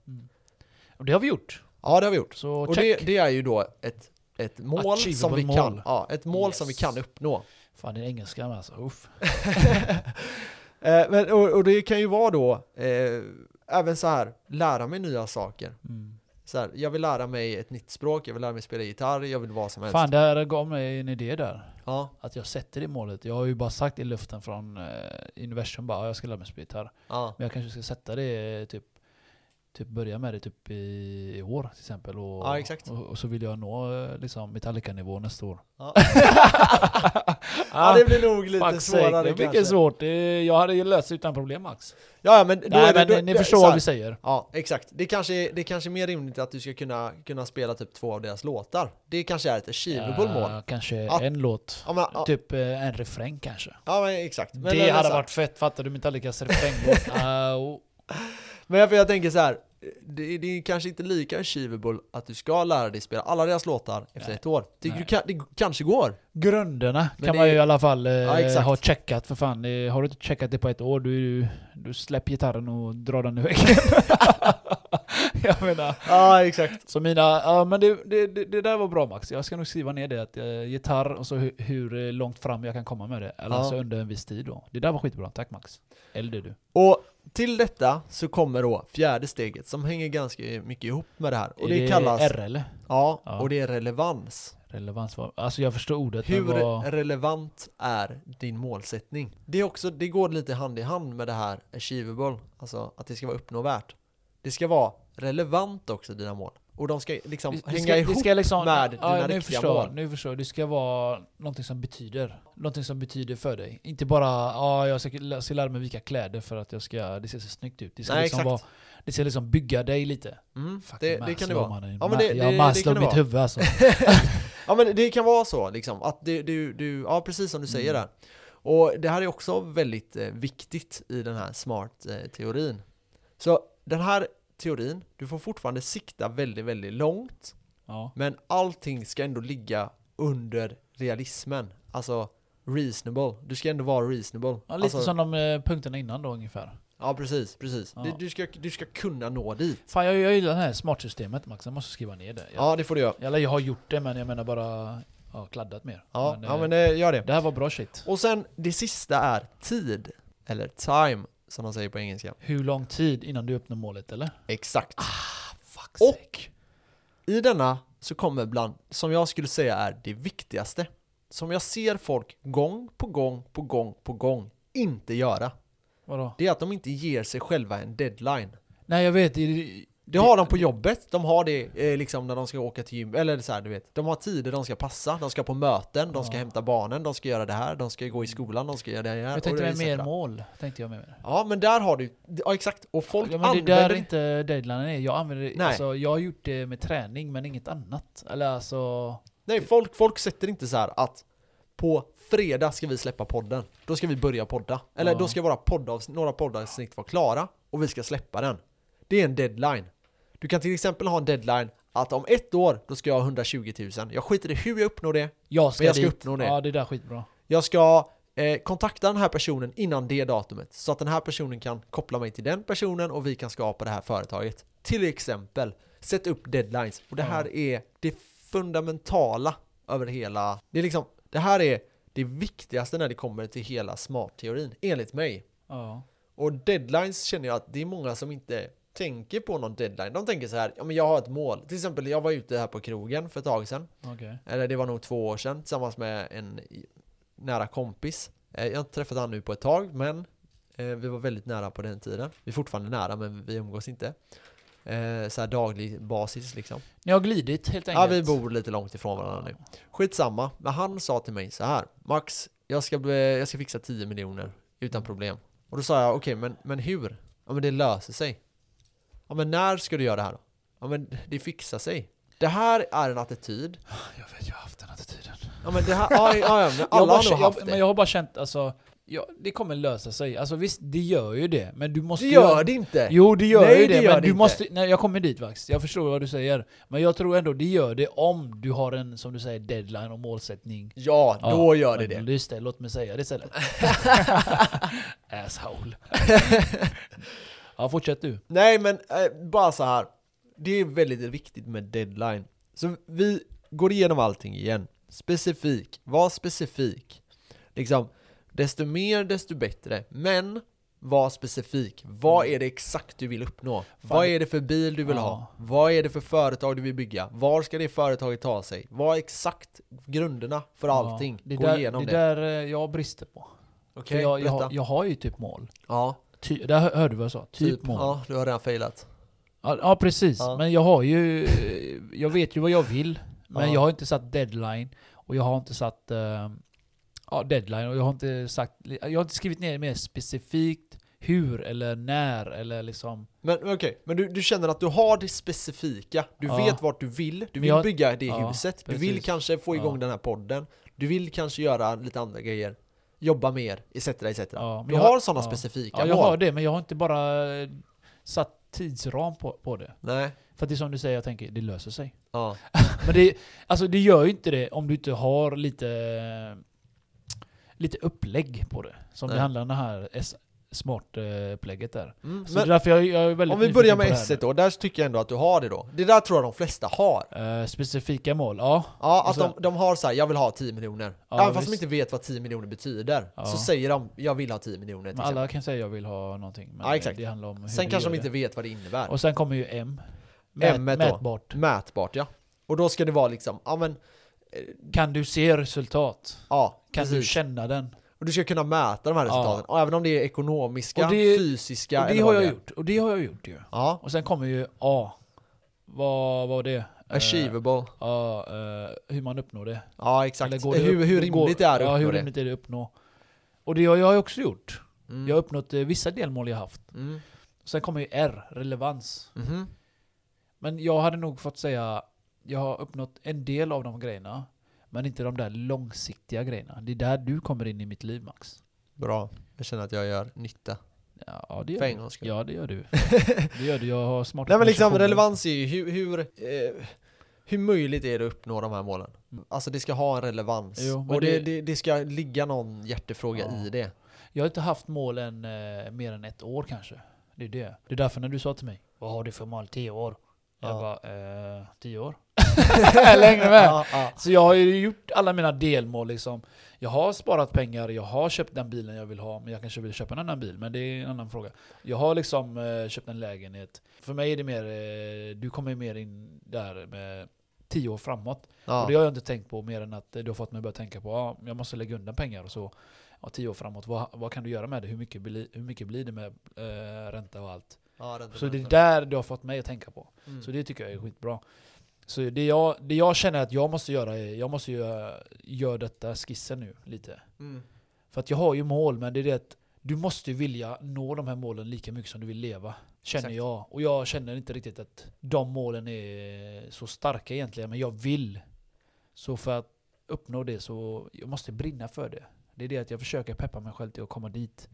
S2: Och det har vi gjort.
S1: Ja, det har vi gjort.
S2: Så
S1: Och
S2: check.
S1: det, det är ju då ett, ett mål som vi
S2: Achievable
S1: kan,
S2: mål.
S1: ja, ett mål som vi
S2: Yes.
S1: kan uppnå.
S2: Fan, det är engelskan alltså. Uff.
S1: Eh, men, och, och det kan ju vara då, eh, även så här, lära mig nya saker.
S2: Mm.
S1: Så här, jag vill lära mig ett nytt språk, jag vill lära mig spela gitarr, jag vill vad som helst.
S2: Fan, det här gav mig en idé där.
S1: Ja,
S2: Att jag sätter det målet. Jag har ju bara sagt i luften från eh, universum bara, "Ja, jag ska lära mig spela gitarr.
S1: ja,
S2: Men jag kanske ska sätta det eh, typ, typ börja med det typ i, i år till exempel. Och,
S1: Ja, exakt.
S2: Och, och så vill jag nå eh, liksom Metallica-nivå nästa år.
S1: ja. ja,
S2: Ah,
S1: det blir nog lite
S2: fuck sake,
S1: svårare
S2: Det är
S1: kanske.
S2: mycket svårt. Det- Jag hade ju löst det utan problem Max.
S1: Ja, ja, men då
S2: Nej
S1: är det,
S2: men
S1: då,
S2: eh, ni
S1: det-
S2: förstår
S1: så här.
S2: vad vi säger.
S1: Ja, exakt. Det kanske, är- det kanske är mer rimligt att du ska kunna, kunna spela typ två av deras låtar. Det kanske är ett achievable mål.
S2: Ja, kanske
S1: Att-
S2: en låt.
S1: Ja, men, ja,
S2: Typ eh, en refräng kanske.
S1: ja, men exakt. Men,
S2: det
S1: men,
S2: hade
S1: så här.
S2: varit fett, fattar du Metallicas refränglåt? Au.
S1: Men jag, för jag tänker så här. Det, det är kanske inte lika achievable att du ska lära dig spela alla deras låtar efter
S2: Nej.
S1: ett år. Det,
S2: Nej.
S1: du, kan, det kanske går.
S2: Grunderna
S1: Men
S2: kan
S1: det-
S2: man ju i alla fall eh,
S1: exakt.
S2: ha checkat för fan. Eh, Har du inte checkat det på ett år, du, du släpp gitarren och dra den i väggen. jag menar,
S1: Ja, exakt.
S2: så mina, ja men det, det, det, det där var bra Max. Jag ska nog skriva ner det, att eh, gitarr och så hur, hur eh, långt fram jag kan komma med det. Eller
S1: Ja.
S2: alltså under en viss tid då. Det där var skitbra, tack Max. Eller det du.
S1: Och till detta så kommer då fjärde steget som hänger ganska mycket ihop med det här. Och det, kallas...
S2: R eller?
S1: Ja,
S2: Ja.
S1: och det är relevans.
S2: Relevans var, alltså jag förstår ordet
S1: Hur
S2: men vad...
S1: relevant är din målsättning? Det, är också, det går lite hand i hand med det här achievable, alltså att det ska vara uppnåvärt. Det ska vara relevant också, dina mål. Och de ska liksom hänga ihop.
S2: liksom,
S1: med dina
S2: nu
S1: riktiga
S2: förstår,
S1: mål.
S2: Nu förstår jag. Det ska vara någonting som betyder. Någonting som betyder för dig. Inte bara ja, jag ska, jag ska lära mig vilka kläder för att jag ska, det ska se snyggt ut. Det ska,
S1: Nej,
S2: liksom,
S1: exakt.
S2: vara, det ska liksom bygga dig lite.
S1: Mm,
S2: Fucking
S1: det, det kan det
S2: Maslow,
S1: vara.
S2: mannen.
S1: Ja, men det-
S2: Ma-
S1: det-
S2: jag
S1: det kan det
S2: Maslow
S1: vara.
S2: mitt huvud alltså.
S1: Ja men det kan vara så liksom, att du, du, du ja precis som du säger
S2: Mm.
S1: där. Och det här är också väldigt eh, viktigt i den här smart-teorin. så den här teorin, du får fortfarande sikta väldigt, väldigt långt,
S2: Ja.
S1: men allting ska ändå ligga under realismen. Alltså reasonable, du ska ändå vara reasonable.
S2: Ja, lite
S1: alltså,
S2: som de eh, punkterna innan då ungefär.
S1: ja precis, precis.
S2: Ja.
S1: Du, du, ska, du ska kunna nå dit.
S2: Fan jag, jag gillar det här smartsystemet Max, jag måste skriva ner det. Jag,
S1: Ja det får du göra.
S2: Eller jag har gjort det men jag menar bara ja, kladdat mer.
S1: Ja,
S2: Men,
S1: ja
S2: eh,
S1: men eh, gör det.
S2: det här var bra shit.
S1: Och sen det sista är tid, eller time som de säger på engelska.
S2: Hur lång tid innan du uppnår målet eller?
S1: Exakt.
S2: Fuck
S1: Och i denna så kommer bland, som jag skulle säga är det viktigaste, som jag ser folk gång på gång på gång på gång inte göra,
S2: Vadå?
S1: det är att de inte ger sig själva en deadline.
S2: Nej jag vet, det-
S1: Det har de på jobbet, de har det eh, liksom när de ska åka till gym, eller så här, du vet. De har tider de ska passa, de ska på möten, de ska
S2: Ja.
S1: hämta barnen, de ska göra det här, de ska gå i skolan, de ska göra det här.
S2: jag
S1: och
S2: tänkte mig
S1: etc.
S2: mer mål. Tänkte jag med.
S1: Ja, men där har du, ja exakt. Och folk
S2: Ja, men det
S1: använder
S2: där är inte deadline är. Jag använder det,
S1: Nej.
S2: alltså, jag har gjort det med träning men inget annat. Eller alltså,
S1: Nej, folk, folk sätter inte så här att på fredag ska vi släppa podden. Då ska vi börja podda. Eller
S2: Ja.
S1: då ska våra poddavs- några poddavsnitt vara klara och vi ska släppa den. Det är en deadline. Du kan till exempel ha en deadline att om ett år, då ska jag ha 120 000. Jag skiter i hur jag uppnår det.
S2: jag ska,
S1: Men jag ska
S2: dit.
S1: uppnå det.
S2: Ja det där är skitbra.
S1: Jag ska eh, kontakta den här personen innan det datumet. Så att den här personen kan koppla mig till den personen och vi kan skapa det här företaget. Till exempel, sätt upp deadlines. Och det
S2: Ja.
S1: här är det fundamentala över hela... Det, är liksom, det här är det viktigaste när det kommer till hela smartteorin, enligt mig.
S2: Ja.
S1: Och deadlines känner jag att det är många som inte tänker på någon deadline. De tänker så här, ja men jag har ett mål. Till exempel, jag var ute här på krogen för ett tag sedan.
S2: Okej.
S1: Eller det var nog två år sedan tillsammans med en i- nära kompis. Eh, Jag har inte träffat han nu på ett tag men eh, vi var väldigt nära på den tiden. Vi är fortfarande nära men vi umgås inte. Eh, Så här daglig basis liksom.
S2: Ni har glidit helt
S1: Ja,
S2: enkelt.
S1: vi bor lite långt ifrån varandra nu. Skitsamma, men han sa till mig så här. Max, jag ska, bli- jag ska fixa 10 miljoner utan problem. Och då sa jag, okej, men, men hur? Ja, men det löser sig. Ja, men när ska du göra det här då? Ja, men det fixar sig. Det här är en attityd
S2: Jag vet, jag har haft den attityden.
S1: Ja men det här, ja, ja, ja men
S2: jag
S1: alla
S2: bara,
S1: har nog
S2: jag,
S1: haft
S2: Men
S1: det.
S2: jag har bara känt, alltså, ja, det kommer lösa sig. Alltså visst, det gör ju det. Men du måste
S1: Det
S2: ju-
S1: gör det inte!
S2: Jo, det gör
S1: Nej,
S2: ju det,
S1: det gör det
S2: men du
S1: inte.
S2: måste... Nej, jag kommer dit faktiskt. Jag förstår vad du säger. Men jag tror ändå det gör det om du har en, som du säger, deadline och målsättning.
S1: Ja,
S2: Ja,
S1: då gör det
S2: men
S1: det.
S2: Just det, låt mig säga det istället. Asshole. ja, fortsätt du.
S1: Nej, men eh, bara så här. Det är väldigt viktigt med deadline. Så vi går igenom allting igen. Specifik, var specifik. Liksom, desto mer, desto bättre. Men var specifik. Vad är det exakt du vill uppnå? Vad är det för bil du vill ha?
S2: Mm. Ja.
S1: Vad är det för företag du vill bygga? Var ska det företaget ta sig? Vad är exakt grunderna för allting?
S2: Ja, det är
S1: Gå
S2: där,
S1: igenom
S2: det.
S1: det.
S2: är där eh, jag brister på. För
S1: Okej,
S2: jag, jag, har-
S1: berätta.
S2: jag har ju typ mål.
S1: Ja,
S2: Ty, där hör- hörde du vad jag sa? Typ,
S1: typ.
S2: mål.
S1: Ja, du har redan failat.
S2: Ja, ja precis,
S1: Ja.
S2: men jag har ju... Jag vet ju vad jag vill, men
S1: Ja.
S2: jag har inte satt deadline. Och jag har inte satt... eh, ja, deadline. Och jag har inte sagt... Jag har inte skrivit ner mer specifikt hur eller när eller liksom...
S1: Men okej, men du, du känner att du har det specifika. Du
S2: Ja.
S1: vet vart du vill. Du vill
S2: jag-
S1: bygga det
S2: ja,
S1: huset. Du vill
S2: precis.
S1: kanske få igång
S2: Ja.
S1: den här podden. Du vill kanske göra lite andra grejer. Jobba mer, etc. etc.
S2: Ja, men
S1: du
S2: jag-
S1: har sådana
S2: ja.
S1: specifika
S2: Ja, jag
S1: mål.
S2: har det, men jag har inte bara eh, satt tidsram på, på det.
S1: Nej.
S2: För att det är som du säger, jag tänker det löser sig.
S1: Ja.
S2: Men det, alltså, det gör ju inte det om du inte har lite, lite upplägg på det. Som
S1: Nej.
S2: det handlar om det här S- smart-upplägget där.
S1: Mm,
S2: Så det är
S1: men
S2: därför jag, jag är väldigt
S1: om vi
S2: nyfiken
S1: börjar
S2: på
S1: med
S2: det här
S1: S då. Där tycker jag ändå att du har det då. Det där tror jag de flesta har.
S2: nu. Eh, specifika mål, ja.
S1: Ja,
S2: Och
S1: att
S2: sen-
S1: de, de har så här, jag vill ha 10 miljoner.
S2: Alltså- Ja,
S1: Även fast de
S2: visst.
S1: inte vet vad 10 miljoner betyder.
S2: Ja.
S1: Så säger de, jag vill ha 10 miljoner.
S2: Men
S1: Till exempel.
S2: alla kan säga jag vill ha någonting. Men
S1: Ja, exakt.
S2: det handlar om hur
S1: Sen
S2: du
S1: kanske
S2: gör
S1: de inte vet vad det innebär.
S2: det. Och sen kommer ju M.
S1: M då.
S2: mätbart.
S1: Mätbart ja. Och då ska det vara liksom, ja men,
S2: Kan du se resultat?
S1: ja.
S2: Kan du
S1: precis.
S2: känna den?
S1: Och du ska kunna mäta de här
S2: Ja.
S1: resultaten. Och även om det är ekonomiska,
S2: Och det-
S1: fysiska
S2: och det
S1: eller
S2: har
S1: vad
S2: jag
S1: det är.
S2: gjort. Och det har jag gjort ju.
S1: Ja.
S2: Och sen kommer ju A. Vad var det? Eh,
S1: Achievable.
S2: Ja, eh, hur man uppnår det.
S1: Ja exakt.
S2: Eller går det
S1: hur,
S2: upp-
S1: hur rimligt
S2: går-
S1: det är att
S2: ja,
S1: uppnå
S2: hur
S1: det.
S2: rimligt är det att uppnå. Och det har jag också gjort.
S1: Mm.
S2: Jag har uppnått eh, vissa delmål jag haft.
S1: Mm.
S2: Sen kommer ju R, relevans.
S1: Mhm.
S2: Men jag hade nog fått säga, jag har uppnått en del av de grejerna. Men inte de där långsiktiga grejerna. Det är där du kommer in i mitt liv Max.
S1: Bra. Jag känner att jag gör nytta.
S2: Ja, det gör
S1: För
S2: du.
S1: en gångs skull.
S2: Ja, det gör du. Det gör du. Jag har smarta
S1: Nej men liksom
S2: konversationer.
S1: relevans är ju hur, hur, eh, hur möjligt är det att uppnå de här målen? Alltså det ska ha en relevans.
S2: Jo, men
S1: och det,
S2: det-
S1: det, det ska ligga någon hjärtefråga
S2: Ja.
S1: i det.
S2: Jag har inte haft mål än eh, mer än ett år kanske. Det är det. Det är därför när du sa till mig, vad har du för mål tio år? Jag
S1: Ja.
S2: bara, eh, tio år? Längre med.
S1: Ja, ja.
S2: Så jag har ju gjort alla mina delmål liksom. Jag har sparat pengar, jag har köpt den bilen jag vill ha, men jag kanske vill köpa en annan bil, men det är en annan fråga. Jag har liksom eh, köpt en lägenhet. För mig är det mer, eh, du kommer ju mer in där med tio år framåt.
S1: Ja.
S2: Och det har jag inte tänkt på mer än att eh, du har fått mig att börja tänka på, ja, jag måste lägga undan pengar och så. Ja, tio år framåt, vad, vad kan du göra med det? Hur mycket, blir- hur mycket blir det med eh, ränta och allt?
S1: Ja, ränta på
S2: Så det är
S1: ränta.
S2: där du har fått mig att tänka på.
S1: Mm.
S2: Så det tycker jag är skitbra. Så det jag, det jag känner att jag måste göra är, jag måste göra, göra detta skissen nu lite.
S1: Mm.
S2: För att jag har ju mål, men det är det att du måste ju vilja nå de här målen lika mycket som du vill leva. Känner
S1: Exakt.
S2: jag. Och jag känner inte riktigt att de målen är så starka egentligen, men jag vill. Så för att uppnå det så jag måste brinna för det. Det är det att jag försöker peppa mig själv till att komma dit.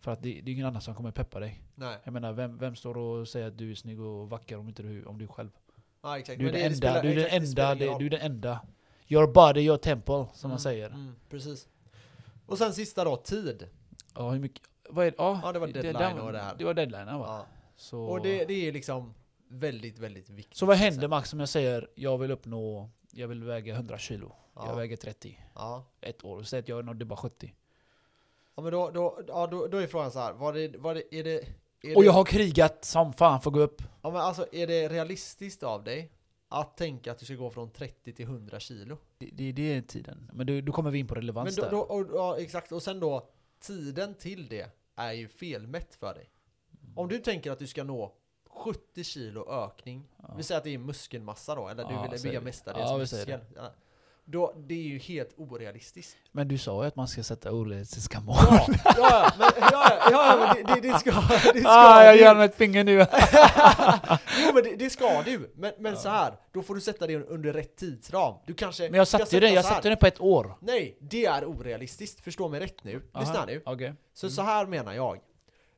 S2: För att det, det är ingen annan som kommer peppa dig.
S1: Nej.
S2: Jag menar, vem, vem står och säger att du är snygg och vacker om inte du, om du själv?
S1: Ja, exakt.
S2: Du är
S1: Men
S2: den
S1: det- det
S2: enda,
S1: spelar-
S2: du är den
S1: exakt, det spelar
S2: enda,
S1: ingen
S2: det-
S1: roll.
S2: du är den enda. Your body, your temple, som man
S1: Mm,
S2: säger.
S1: Mm, precis. Och sen sista då, tid.
S2: Ja, hur mycket? Vad är det? Ja,
S1: Ja, det var deadline och det här.
S2: Det var deadline, va?
S1: Ja.
S2: Så,
S1: Och det, det är liksom väldigt, väldigt viktigt.
S2: så vad händer Max om jag säger jag vill uppnå, jag vill väga 100 kilo, jag
S1: Ja,
S2: väger 30,
S1: ja.
S2: ett år, säg att jag nådde bara 70.
S1: ja men då, då, ja, då, då är frågan så här, vad är, vad är, är det... Är
S2: Och
S1: det,
S2: jag har krigat som fan för att gå upp.
S1: ja, men alltså, är det realistiskt av dig att tänka att du ska gå från 30 till 100 kilo?
S2: Det, det, det är tiden. Men du, då kommer vi in på
S1: Men
S2: relevans
S1: då,
S2: där.
S1: då, och, ja, exakt, och sen då, tiden till det är ju felmätt för dig. Om du tänker att du ska nå 70 kilo ökning,
S2: Ja.
S1: vi säger att det är muskelmassa då, eller du
S2: Ja,
S1: vill
S2: säger
S1: bygga
S2: vi.
S1: mestadels
S2: Ja, vi säger
S1: muskel. Ja. Då, det är ju helt orealistiskt.
S2: Men du sa ju att man ska sätta orealistiska mål.
S1: Ja, ja, ja, men, ja, ja, ja, men det, det, det ska, det ska
S2: ah, jag
S1: du.
S2: gör med ett finger nu.
S1: Jo men det, det ska du. Men, men så här, då får du sätta det under rätt tidsram. Du kanske...
S2: Men jag
S1: ska
S2: satte ju den, jag
S1: så här.
S2: satte den på ett år.
S1: Nej, det är orealistiskt. Förstå mig rätt nu. Lyssna
S2: Aha,
S1: nu.
S2: Okej.
S1: Så så här menar jag.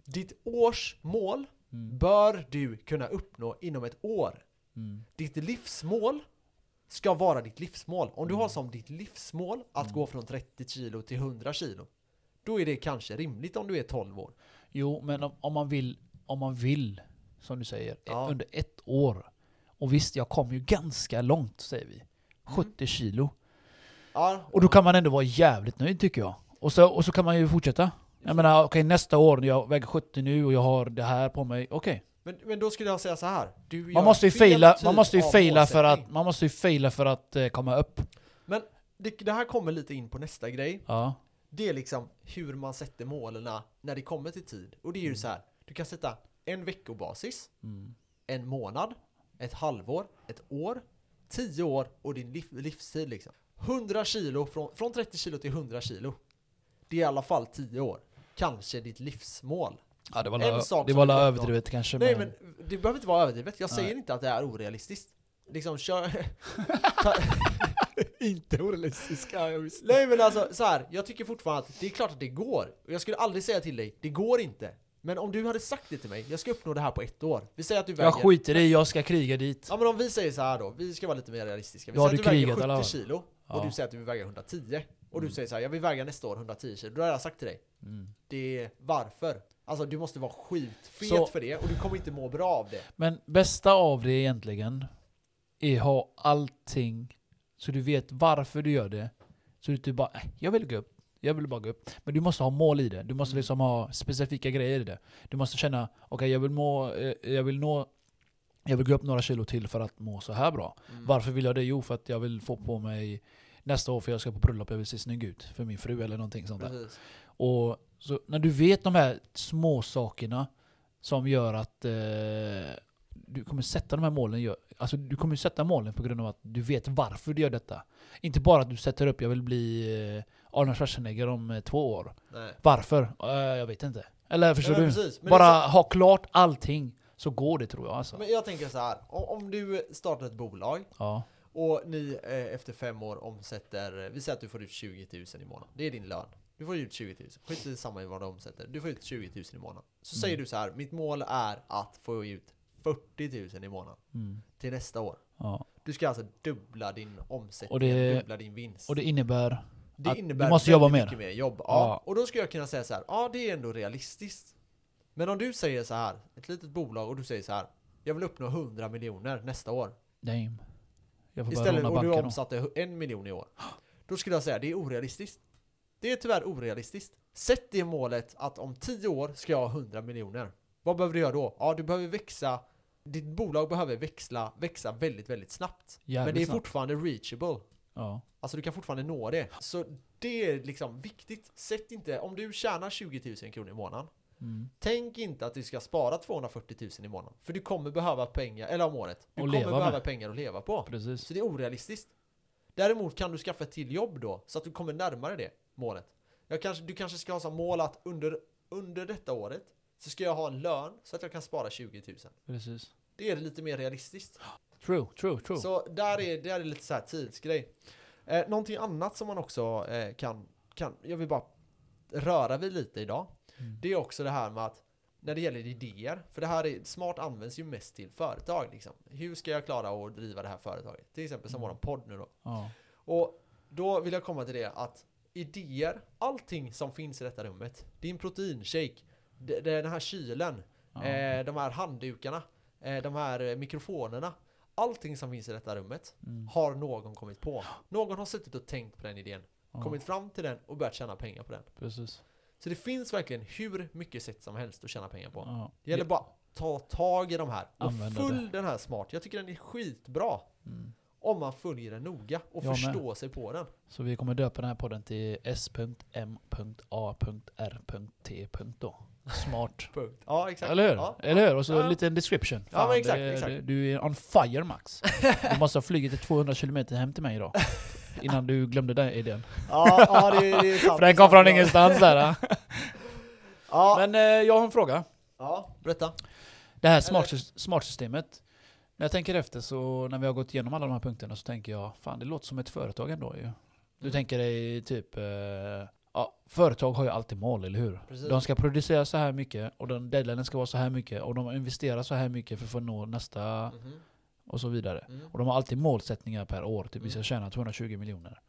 S1: Ditt årsmål
S2: Mm.
S1: bör du kunna uppnå inom ett år.
S2: Mm.
S1: Ditt livsmål ska vara ditt livsmål. Om du
S2: Mm.
S1: har som ditt livsmål att gå från 30 kilo till 100 kilo, då är det kanske rimligt om du är 12 år.
S2: Jo, men om, om, man vill, om man vill, som du säger,
S1: Ja.
S2: under ett år. Och visst, jag kom ju ganska långt, säger vi.
S1: Mm.
S2: 70 kilo.
S1: Ja,
S2: Och då kan man ändå vara jävligt nöjd tycker jag. Och så, och så kan man ju fortsätta. Jag menar, okej nästa år, när jag väger 70 nu och jag har det här på mig. Okej.
S1: men, men då skulle jag säga så här. Du gör
S2: Man måste ju
S1: fel
S2: faila, man
S1: typ
S2: måste ju
S1: av
S2: faila för att,
S1: målsättning.
S2: man måste ju faila för att eh, komma upp.
S1: Men det, det här kommer lite in på nästa grej.
S2: Ja.
S1: Det är liksom hur man sätter målen när det kommer till tid. Och det är ju så här. Du kan sätta en veckobasis,
S2: Mm.
S1: en månad, ett halvår, ett år, tio år och din liv, livstid liksom. 100 kilo, från, från 30 kilo till 100 kilo. Det är i alla fall 10 år. Kanske ditt livsmål.
S2: Ja, det var,
S1: En
S2: la,
S1: sak
S2: det
S1: som
S2: var
S1: vi
S2: la
S1: pratar om.
S2: överdrivet kanske.
S1: Nej
S2: men,
S1: men det behöver inte vara överdrivet. Jag
S2: Nej.
S1: säger inte att det är orealistiskt. Liksom kör... ta,
S2: inte orealistiska, jag visste.
S1: Nej men alltså så här, jag tycker fortfarande att det är klart att det går. Och jag skulle aldrig säga till dig, det går inte. Men om du hade sagt det till mig, jag ska uppnå det här på ett år. Vi säger att du väger...
S2: Jag skiter i, jag ska kriga dit.
S1: Ja men om vi säger så här då, vi ska vara lite mer realistiska. Vi
S2: Då har
S1: säger
S2: du
S1: att du väger
S2: krigat, eller
S1: 70
S2: vad?
S1: kilo och
S2: Ja.
S1: du säger att du vill väga 110. Och du säger så här, jag vill väga nästa år 110 kilo. Då har jag sagt till dig,
S2: Mm.
S1: det är varför? Alltså du måste vara skitfet
S2: Så-
S1: för det och du kommer inte må bra av det.
S2: Men bästa av det egentligen är ha allting så du vet varför du gör det. Så du inte bara "Äh, jag vill gå upp, jag vill bara gå upp. Men du måste ha mål i det. Du måste liksom ha specifika grejer i det. Du måste känna okej jag vill må, eh, jag vill nå jag vill gå upp några kilo till för att må så här bra. Varför vill jag det? Jo för att jag vill få på mig nästa år för jag ska på bröllop, jag vill se snygg ut för min fru eller någonting sånt där.
S1: Precis.
S2: Och så när du vet de här små sakerna som gör att eh, du kommer sätta de här målen. gör- Alltså du kommer sätta målen på grund av att du vet varför du gör detta. Inte bara att du sätter upp jag vill bli eh, Arnold Schwarzenegger om eh, två år.
S1: Nej.
S2: Varför? Eh, jag vet inte. Eller förstår
S1: Nej, men
S2: du?
S1: precis. Men det är
S2: bara ha klart allting så går det tror jag alltså.
S1: Men jag tänker så här, om, om du startar ett bolag
S2: ja.
S1: Och ni eh, efter fem år omsätter, eh, vi säger att du får ut 20 000 i månaden. Det är din lön. Du får ut 20 000. Skit i samma i vad du omsätter. Du får ut 20 000 i månaden. Så
S2: Mm.
S1: säger du så här, mitt mål är att få ut 40 000 i månaden
S2: Mm.
S1: till nästa år.
S2: ja.
S1: Du ska alltså dubbla din omsättning,
S2: Och det-
S1: dubbla din vinst.
S2: Och det innebär?
S1: Det
S2: att
S1: innebär
S2: du måste jobba
S1: väldigt
S2: mer.
S1: mycket mer jobb. Ja.
S2: Ja.
S1: Och då skulle jag kunna säga så här, ja det är ändå realistiskt. Men om du säger så här, ett litet bolag och du säger så här, jag vill uppnå 100 miljoner nästa år.
S2: Damn. Jag får börja
S1: Istället
S2: låna
S1: och du
S2: banken då.
S1: omsatte hu- en miljon i år. Då skulle jag säga det är orealistiskt. Det är tyvärr orealistiskt. Sätt det målet att om 10 år ska jag ha 100 miljoner. Vad behöver du göra då? Ja, du behöver växa. Ditt bolag behöver växla, växa väldigt, väldigt snabbt.
S2: Jävligt
S1: Men det är
S2: snabbt.
S1: fortfarande reachable.
S2: Ja.
S1: Alltså du kan fortfarande nå det. Så det är liksom viktigt. Sätt inte, om du tjänar 20 000 kronor i månaden.
S2: Mm.
S1: Tänk inte att du ska spara 240 000 i månaden. För du kommer behöva pengar, eller om året. Du
S2: Och
S1: kommer
S2: leva
S1: behöva
S2: med.
S1: pengar att leva på.
S2: Precis.
S1: Så det är orealistiskt. Däremot kan du skaffa ett till jobb då, så att du kommer närmare det målet. Jag kanske, du kanske ska ha som mål att under, under detta året så ska jag ha en lön så att jag kan spara 20 000.
S2: Precis.
S1: Det är lite mer realistiskt.
S2: True, true, true.
S1: Så där är, där är lite så här tidsgrej. Eh, någonting annat som man också eh, kan, kan, jag vill bara röra vid lite idag.
S2: Mm.
S1: Det är också det här med att när det gäller idéer, för det här är, smart används ju mest till företag liksom. Hur ska jag klara att driva det här företaget? Till exempel som våran podd nu då.
S2: Ja.
S1: Och då vill jag komma till det att idéer, allting som finns i detta rummet, din proteinshake, d- den här kylen,
S2: Ja.
S1: eh, de här handdukarna, eh, de här eh, mikrofonerna, allting som finns i detta rummet
S2: Mm.
S1: har någon kommit på. Någon har suttit och tänkt på den idén, kommit fram till den och börjat tjäna pengar på den.
S2: Precis.
S1: Så det finns verkligen hur mycket sätt som helst att tjäna pengar på.
S2: Ja.
S1: Det gäller bara att ta tag i de här och
S2: Använda det.
S1: följ den här smart. Jag tycker den är skitbra
S2: Mm.
S1: om man följer den noga och
S2: Jag med.
S1: förstår sig på den.
S2: Så vi kommer döpa den här podden till s.m.a.r.t. då. Smart.
S1: Punkt. Ja, exakt.
S2: Eller hur?
S1: Ja.
S2: Eller hur? Och så
S1: Ja.
S2: en liten description.
S1: Ja, men exakt,
S2: det,
S1: exakt.
S2: Det, du är on fire Max. Du måste ha flugit till 200 km hem till mig idag. Innan du glömde den idén.
S3: Ja, ja det, det är sant.
S2: För den kom från ingenstans där. ja.
S3: Ja,
S2: Men eh, jag har en fråga.
S3: ja.
S1: Berätta.
S2: Det här smart- smartsystemet. När jag tänker efter så, när vi har gått igenom alla de här punkterna så tänker jag, fan det låter som ett företag ändå ju.
S1: Mm.
S2: Du tänker dig typ, eh, ja, företag har ju alltid mål, eller hur?
S1: Precis.
S2: De ska producera så här mycket och den deadlinen ska vara så här mycket och de investerar så här mycket för att få nå nästa
S1: Mhm.
S2: och så vidare.
S1: Mm.
S2: Och de har alltid målsättningar per år, typ vi
S1: Mm.
S2: ska tjäna 220 miljoner.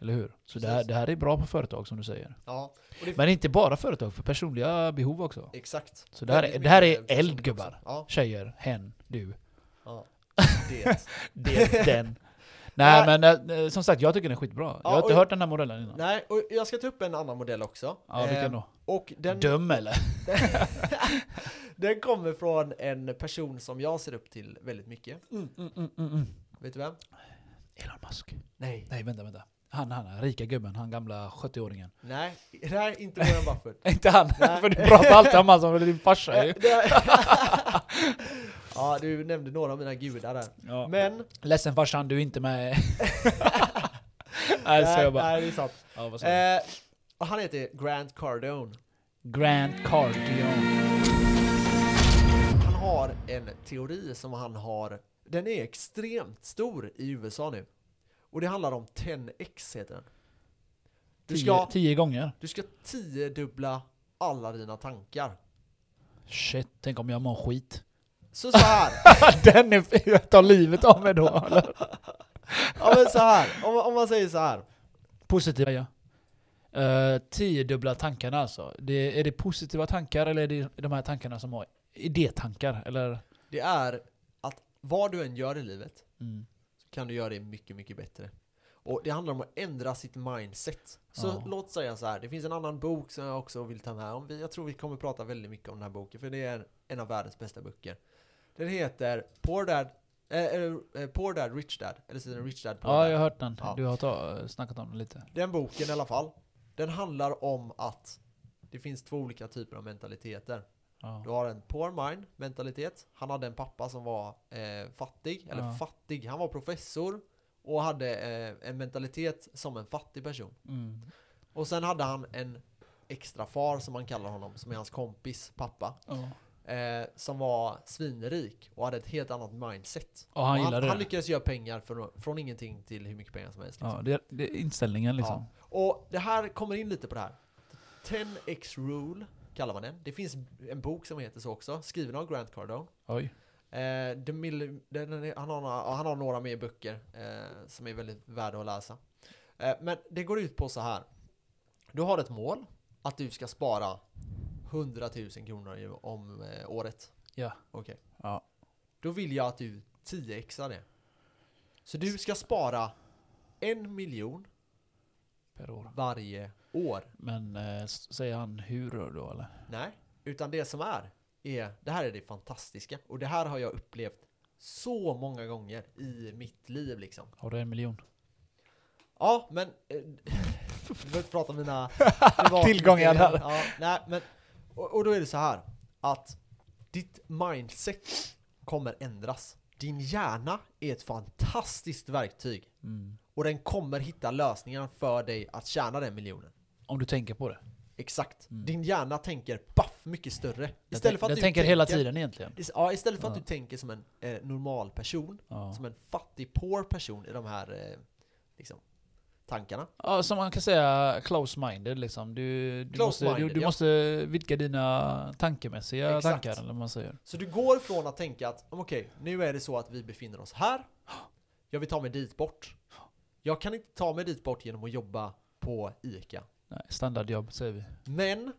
S2: Eller hur? Så det
S1: Precis.
S2: här, det här är bra på företag som du säger.
S1: Ja, och det,
S2: Men inte bara företag, för personliga behov också.
S1: exakt.
S2: Så det här är-
S1: Väldigt
S2: det här
S1: mycket
S2: är
S1: personligt
S2: eld, gubbar.
S1: också. Ja,
S2: Tjejer, hen, du.
S1: ja. Det.
S2: Det, den.
S1: Nej.
S2: Nej men eh, eh, som sagt, jag tycker den är skitbra. jag har
S1: och-
S2: inte hört den här modellen innan.
S1: Nej, och jag ska ta upp en annan modell också.
S2: Ja, vilken
S1: Eh,
S2: då?
S1: Och den,
S2: Döm eller?
S1: den kommer från en person som jag ser upp till väldigt mycket. mm, Vet du vem?
S2: Elon Musk.
S1: Nej.
S2: Nej vänta, vänta. Han, han, han rika gubben, han gamla 70-åringen.
S1: Nej, nej inte Warren Buffett.
S2: Inte han,
S1: Nej.
S2: för du pratar alltid om han som är din farsa ju.
S1: Eh, det- ja, du nämnde några av mina gudar där.
S2: Ja.
S1: Men,
S2: Ledsen farsan, du är inte med. Nej, så
S1: nej,
S2: jag bara.
S1: nej, det är sant.
S2: Ja, vad sa du?
S1: Eh, och han heter Grant Cardone.
S2: Grand Cardion.
S1: Han har en teori som han har, den är extremt stor i USA nu. Och det handlar om 10x heter den. Du
S2: Tio,
S1: ska,
S2: tio gånger.
S1: du ska tiodubbla alla dina tankar.
S2: Shit, tänk om jag mår skit.
S1: Så så här,
S2: den är fin, jag tar livet av mig då. eller?
S1: ja, men så här. Om, om man säger så här.
S2: Positiva ja. Uh, tiodubbla tankarna alltså. Det, är det positiva tankar eller är det de här tankarna som har idétankar? Eller?
S1: Det är att vad du än gör i livet
S2: Mm.
S1: så kan du göra det mycket, mycket bättre. Och det handlar om att ändra sitt mindset. Så
S2: Ja.
S1: låt säga så här, det finns en annan bok som jag också vill ta med om. Vi- Jag tror vi kommer prata väldigt mycket om den här boken, för det är en av världens bästa böcker. Den heter Poor Dad, eh, eh, eh, Poor Dad Rich Dad, eller så heter den Rich Dad Poor
S2: Ja,
S1: Dad.
S2: jag har hört den.
S1: Ja.
S2: Du har ta, snackat om den lite.
S1: Den boken i alla fall, den handlar om att det finns två olika typer av mentaliteter.
S2: Ja.
S1: Du har en poor mind mentalitet. Han hade en pappa som var eh, fattig, eller
S2: Ja.
S1: fattig, han var professor och hade eh, en mentalitet som en fattig person.
S2: Mm.
S1: Och sen hade han en extra far som man kallar honom, som är hans kompis pappa,
S2: Ja.
S1: eh, som var svinrik och hade ett helt annat mindset.
S2: Och han
S1: Och
S2: gillade
S1: han, han
S2: det.
S1: lyckades göra pengar från, från ingenting till hur mycket pengar som helst. Liksom.
S2: Ja, det, det är inställningen liksom.
S1: Ja. Och det här kommer in lite på det här. 10x rule kallar man den. Det finns en bok som heter så också, skriven av Grant Cardone.
S2: Oj.
S1: Eh, The Mill- den, är- han, har några, ja, han har några mer böcker eh, som är väldigt värda att läsa. Eh, men det går ut på så här. Du har ett mål att du ska spara 100 000 kronor i- om eh, året.
S2: Ja.
S1: Okej.
S2: Ja.
S1: Då vill jag att du 10xar det. Så du ska spara en miljon
S2: Per år.
S1: varje år.
S2: Men eh, s- säger han hur då eller?
S1: Nej, utan det som är, är, det här är det fantastiska. Och det här har jag upplevt så många gånger i mitt liv liksom.
S2: Har du en miljon?
S1: Ja, men... eh, Jag behöver inte prata om mina...
S2: Tillgångar här.
S1: Ja, nej, men, och, och då är det så här att ditt mindset kommer ändras. Din hjärna är ett fantastiskt verktyg
S2: Mm.
S1: och den kommer hitta lösningar för dig att tjäna den miljonen.
S2: Om du tänker på det.
S1: Exakt.
S2: Mm.
S1: Din hjärna tänker baff mycket större.
S2: Den,
S1: Istället för att
S2: den
S1: du
S2: tänker hela tiden egentligen.
S1: is- Ja, istället för att
S2: Ja.
S1: du tänker som en eh, normal person,
S2: Ja.
S1: som en fattig, poor person i de här eh, liksom, tankarna.
S2: Ja, som man kan säga, close-minded liksom. Du, du, måste, du,
S1: Close-minded,
S2: du
S1: ja.
S2: måste vidga dina tankemässiga
S1: Exakt.
S2: tankar, eller vad man säger.
S1: Så du går från att tänka att "Om, okej, nu är det så att vi befinner oss här. Jag vill ta mig dit bort. Jag kan inte ta mig dit bort genom att jobba på ICA.
S2: Nej, standardjobb säger vi.
S1: Men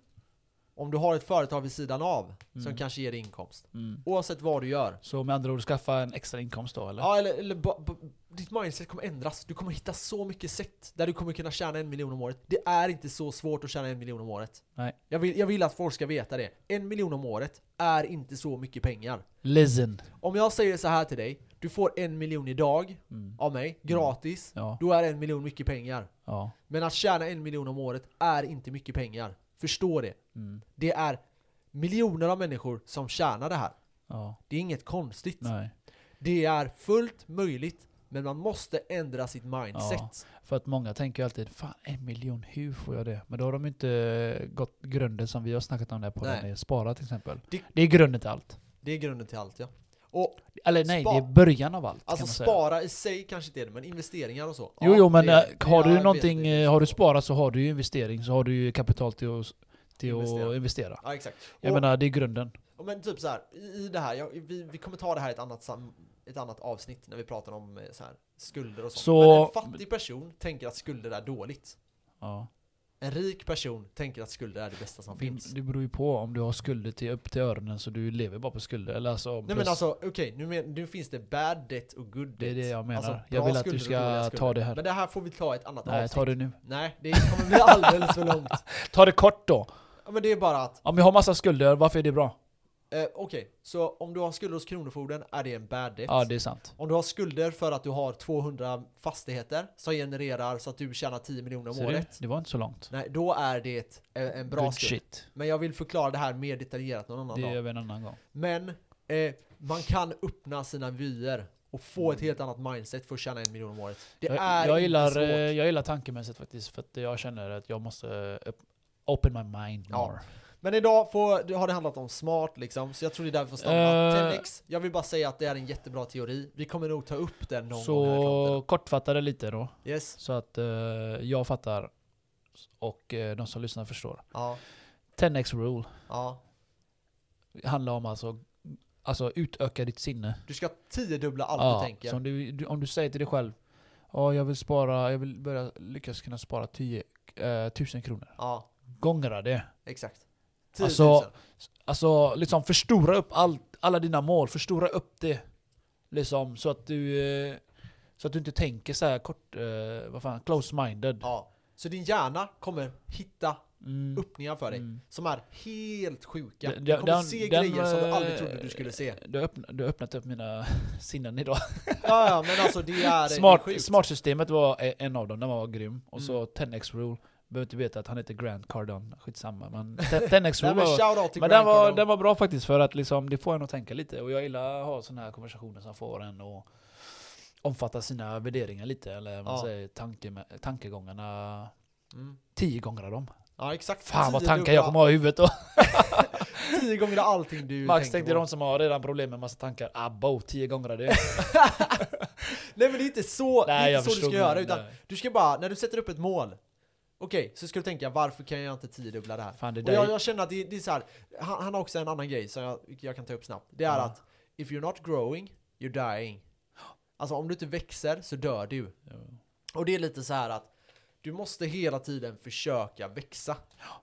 S1: om du har ett företag vid sidan av som
S2: Mm.
S1: kanske ger dig inkomst.
S2: Mm.
S1: Oavsett vad du gör.
S2: Så med andra ord, skaffa en extra inkomst då eller?
S1: Ja, eller, eller ba, ba, ditt mindset kommer ändras. Du kommer hitta så mycket sätt där du kommer kunna tjäna en miljon om året. Det är inte så svårt att tjäna en miljon om året.
S2: Nej.
S1: Jag vill, jag vill att folk ska veta det. En miljon om året är inte så mycket pengar.
S2: Listen.
S1: Om jag säger så här till dig, du får en miljon idag
S2: Mm.
S1: av mig, gratis.
S2: Ja,
S1: Då är en miljon mycket pengar.
S2: ja.
S1: Men att tjäna en miljon om året är inte mycket pengar. Förstå det.
S2: Mm.
S1: Det är miljoner av människor som tjänar det här.
S2: ja.
S1: Det är inget konstigt.
S2: Nej.
S1: Det är fullt möjligt Men man måste ändra sitt mindset.
S2: För att många tänker ju alltid fan en miljon, hur får jag det? Men då har de ju inte gått grunden som vi har snackat om där på
S1: Nej.
S2: den är spara till exempel.
S1: Det-
S2: Det, är grunden till allt.
S1: Det är grunden till allt ja. Och
S2: Eller nej,
S1: Spa-
S2: det är början av allt. kan
S1: alltså
S2: man säga.
S1: spara i sig kanske inte är det, men investeringar och så.
S2: Jo,
S1: Ja,
S2: jo, men
S1: det-
S2: eh,
S1: det
S2: har
S1: är
S2: du någonting,
S1: arbetet.
S2: eh, har du sparat så har du ju investering, så har du ju kapital till att, till
S1: Investera.
S2: att investera.
S1: Ja exakt.
S2: Jag
S1: Och-
S2: menar, det är grunden.
S1: Ja, Men typ så här, i i det här, jag, vi, vi kommer ta det här i ett annat, sam, ett annat avsnitt när vi pratar om eh, så här, skulder och sånt.
S2: Så-
S1: Men en fattig person tänker att skulder är dåligt.
S2: Ja.
S1: En rik person tänker att skulder är det bästa som
S2: Det,
S1: finns.
S2: det beror ju på om du har skulder till, upp till öronen så du lever bara på skulder. Eller alltså,
S1: Nej men
S2: plus-
S1: alltså okej, nu, men- nu finns det bad debt och good debt.
S2: Det är det jag menar.
S1: Alltså,
S2: Jag
S1: bra
S2: vill att du
S1: skulder och dåliga
S2: ska
S1: skulder.
S2: ta det här.
S1: Men det här får vi ta i ett annat
S2: Nej,
S1: avsnitt.
S2: ta det nu.
S1: Nej, det kommer bli alldeles för långt.
S2: Ta det kort då.
S1: Ja, Men det är bara att,
S2: Om jag har massa skulder, varför är det bra?
S1: eh, okej, så om du har skulder hos Kronofogden är det en bad debt.
S2: Ja, det är sant.
S1: Om du har skulder för att du har 200 fastigheter som genererar så att du tjänar 10 miljoner om
S2: Ser du?
S1: året.
S2: Det var inte så långt.
S1: Nej, då är det en, en bra
S2: Good
S1: skuld.
S2: shit.
S1: Men jag vill förklara det här mer detaljerat någon annan
S2: Det gör
S1: dag.
S2: vi en annan gång.
S1: Men eh, man kan öppna sina vyer och få ett helt annat mindset för att tjäna en miljon om året. Det är
S2: Mm. Jag, jag, gillar,
S1: inte
S2: eh,
S1: svårt.
S2: jag gillar tankemässigt faktiskt, för att jag känner att jag måste eh, upp- open my mind
S1: Ja.
S2: more.
S1: Men idag får, det har det handlat om smart liksom, så jag tror det är där vi får stanna.
S2: Eh.
S1: 10x, jag vill bara säga att det är en jättebra teori. Vi kommer nog ta upp den någon gång här i
S2: Så
S1: framtiden.
S2: kortfattade lite då,
S1: Yes.
S2: så att eh, jag fattar och eh, de som lyssnar förstår.
S1: Ja.
S2: 10x rule
S1: Ja.
S2: handlar om alltså, alltså utöka ditt sinne.
S1: Du ska tiodubbla allt du tänker.
S2: så om, du, du, om du säger till dig själv Ja, jag vill spara, jag vill börja lyckas kunna spara 10 eh, 1000 kronor.
S1: Ja,
S2: Gångra det.
S1: exakt. 10 000.
S2: Alltså- Alltså liksom förstora upp allt, alla dina mål, förstora upp det. Liksom så att du eh, så att du inte tänker så här kort, eh, vad fan, close-minded.
S1: Ja. Så din hjärna kommer hitta
S2: Mm.
S1: öppningar för dig
S2: Mm.
S1: som är helt sjuka.
S2: Den-
S1: Du kommer
S2: den-
S1: se
S2: den,
S1: grejer som du aldrig
S2: eh,
S1: trodde du skulle se.
S2: Du har öppnat, du har öppnat upp mina sinnen idag.
S1: Ja, ja men alltså det är
S2: Smart,
S1: det är sjukt. Mm.
S2: smartsystemet var e- en av dem, den var grym. Och så 10x rule. Behöver inte veta att han heter Grant Cardone, skitsamma. Men 10x
S1: Nej,
S2: rule
S1: men
S2: var...
S1: shoutout till
S2: Men den var,
S1: Grant
S2: den
S1: Cardone.
S2: var bra faktiskt för att liksom, det får en att tänka lite och jag gillar att ha sådana här konversationer som får en att omfatta sina värderingar lite eller vad man
S1: Ja.
S2: säger, tanke, tankegångarna
S1: Mm.
S2: tio gånger dem.
S1: Ja exakt.
S2: Fan vad
S1: Tiodubbla-
S2: tankar jag kommer ha i huvudet då.
S1: Tio gånger allting du
S2: Max
S1: tänker
S2: tänkte
S1: på.
S2: de som har redan problem med massa tankar, abbo, tio gånger det.
S1: Nej men det är inte så,
S2: Nej,
S1: det är
S2: jag
S1: inte så du
S2: förstod,
S1: ska göra
S2: men,
S1: utan
S2: eh,
S1: du ska bara, när du sätter upp ett mål Okej, så ska du tänka varför kan jag inte tiodubbla det här?
S2: Fan, det
S1: och
S2: där
S1: jag,
S2: är-
S1: jag känner att det, det är så här. Han, han har också en annan grej som jag, jag kan ta upp snabbt Det är
S2: Ja.
S1: att If you're not growing, you're dying Alltså om du inte växer så dör du Och det är lite så här att du måste hela tiden försöka växa.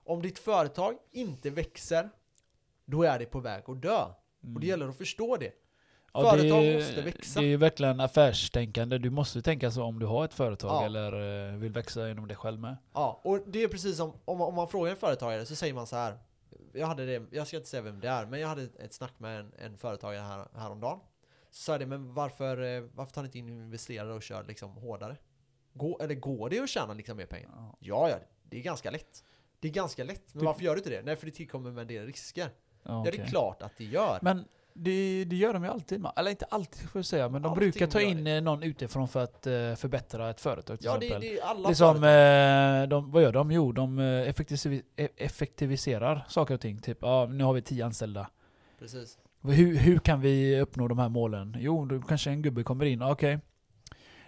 S1: Om ditt företag inte växer, då är det på väg att dö. Och det gäller att förstå det.
S2: Mm. Ja,
S1: Företag
S2: det,
S1: måste växa.
S2: Det är ju verkligen affärstänkande. Du måste tänka så om du har ett företag
S1: Ja.
S2: eller eh, vill växa inom dig själv med.
S1: Ja, och det är precis som om, om man frågar en företagare så säger man så här. Jag hade det, jag ska inte säga vem det är, men jag hade ett snack med en, en företagare här, häromdagen. Så sa jag det, men varför, eh, varför tar ni inte in investerare och kör liksom hårdare? Gå, eller går det att tjäna liksom mer pengar?
S2: Ja.
S1: Ja, ja, det är ganska lätt. Det är ganska lätt, men
S2: Du-
S1: varför gör du inte det? Nej, för det tillkommer med en del risker.
S2: Ja,
S1: Ja, det är
S2: okej.
S1: klart att det gör.
S2: Men det, det gör de ju alltid. man. Eller inte alltid får jag säga, men de
S1: Allting
S2: brukar ta
S1: gör
S2: in eh, någon utifrån för att eh, förbättra ett företag till
S1: ja, det,
S2: exempel.
S1: det är alla
S2: liksom,
S1: företag.
S2: eh, de, vad gör de? Jo, de eh, effektivi- e- effektiviserar saker och ting. Typ, ja, nu har vi tio anställda.
S1: Precis.
S2: Hur, hur kan vi uppnå de här målen? Jo, då kanske en gubbe kommer in. Okej,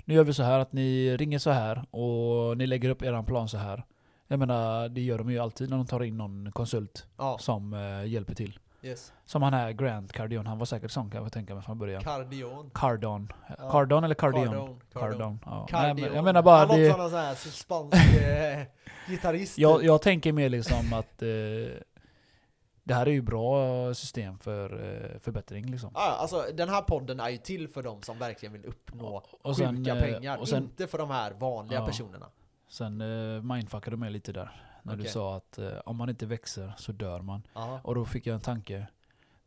S2: nu gör vi så här att ni ringer så här och ni lägger upp er plan så här. Jag menar, det gör de ju alltid när de tar in någon konsult
S1: Ja,
S2: som eh, hjälper till.
S1: yes.
S2: Som han här Grant Cardone, han var säkert sån kan jag tänka mig från början.
S1: Cardion.
S2: Cardone.
S1: Ja.
S2: Cardone eller Cardion?
S1: Cardon. Cardon.
S2: Cardone. Ja. Nej,
S1: Cardion.
S2: men jag menar bara,
S1: Han
S2: det,
S1: låter som en spansk eh, gitarrist.
S2: jag, jag tänker mer liksom att eh, det här är ju bra system för eh, förbättring liksom.
S1: Ja, alltså, den här podden är ju till för de som verkligen vill uppnå
S2: Och
S1: sjuka
S2: eh,
S1: pengar.
S2: Och sen,
S1: inte för de här vanliga
S2: Ja.
S1: personerna.
S2: sen eh, mindfuckade du mig lite där. När du
S1: Okej.
S2: sa att eh, om man inte växer så dör man.
S1: Aha,
S2: Och då fick jag en tanke.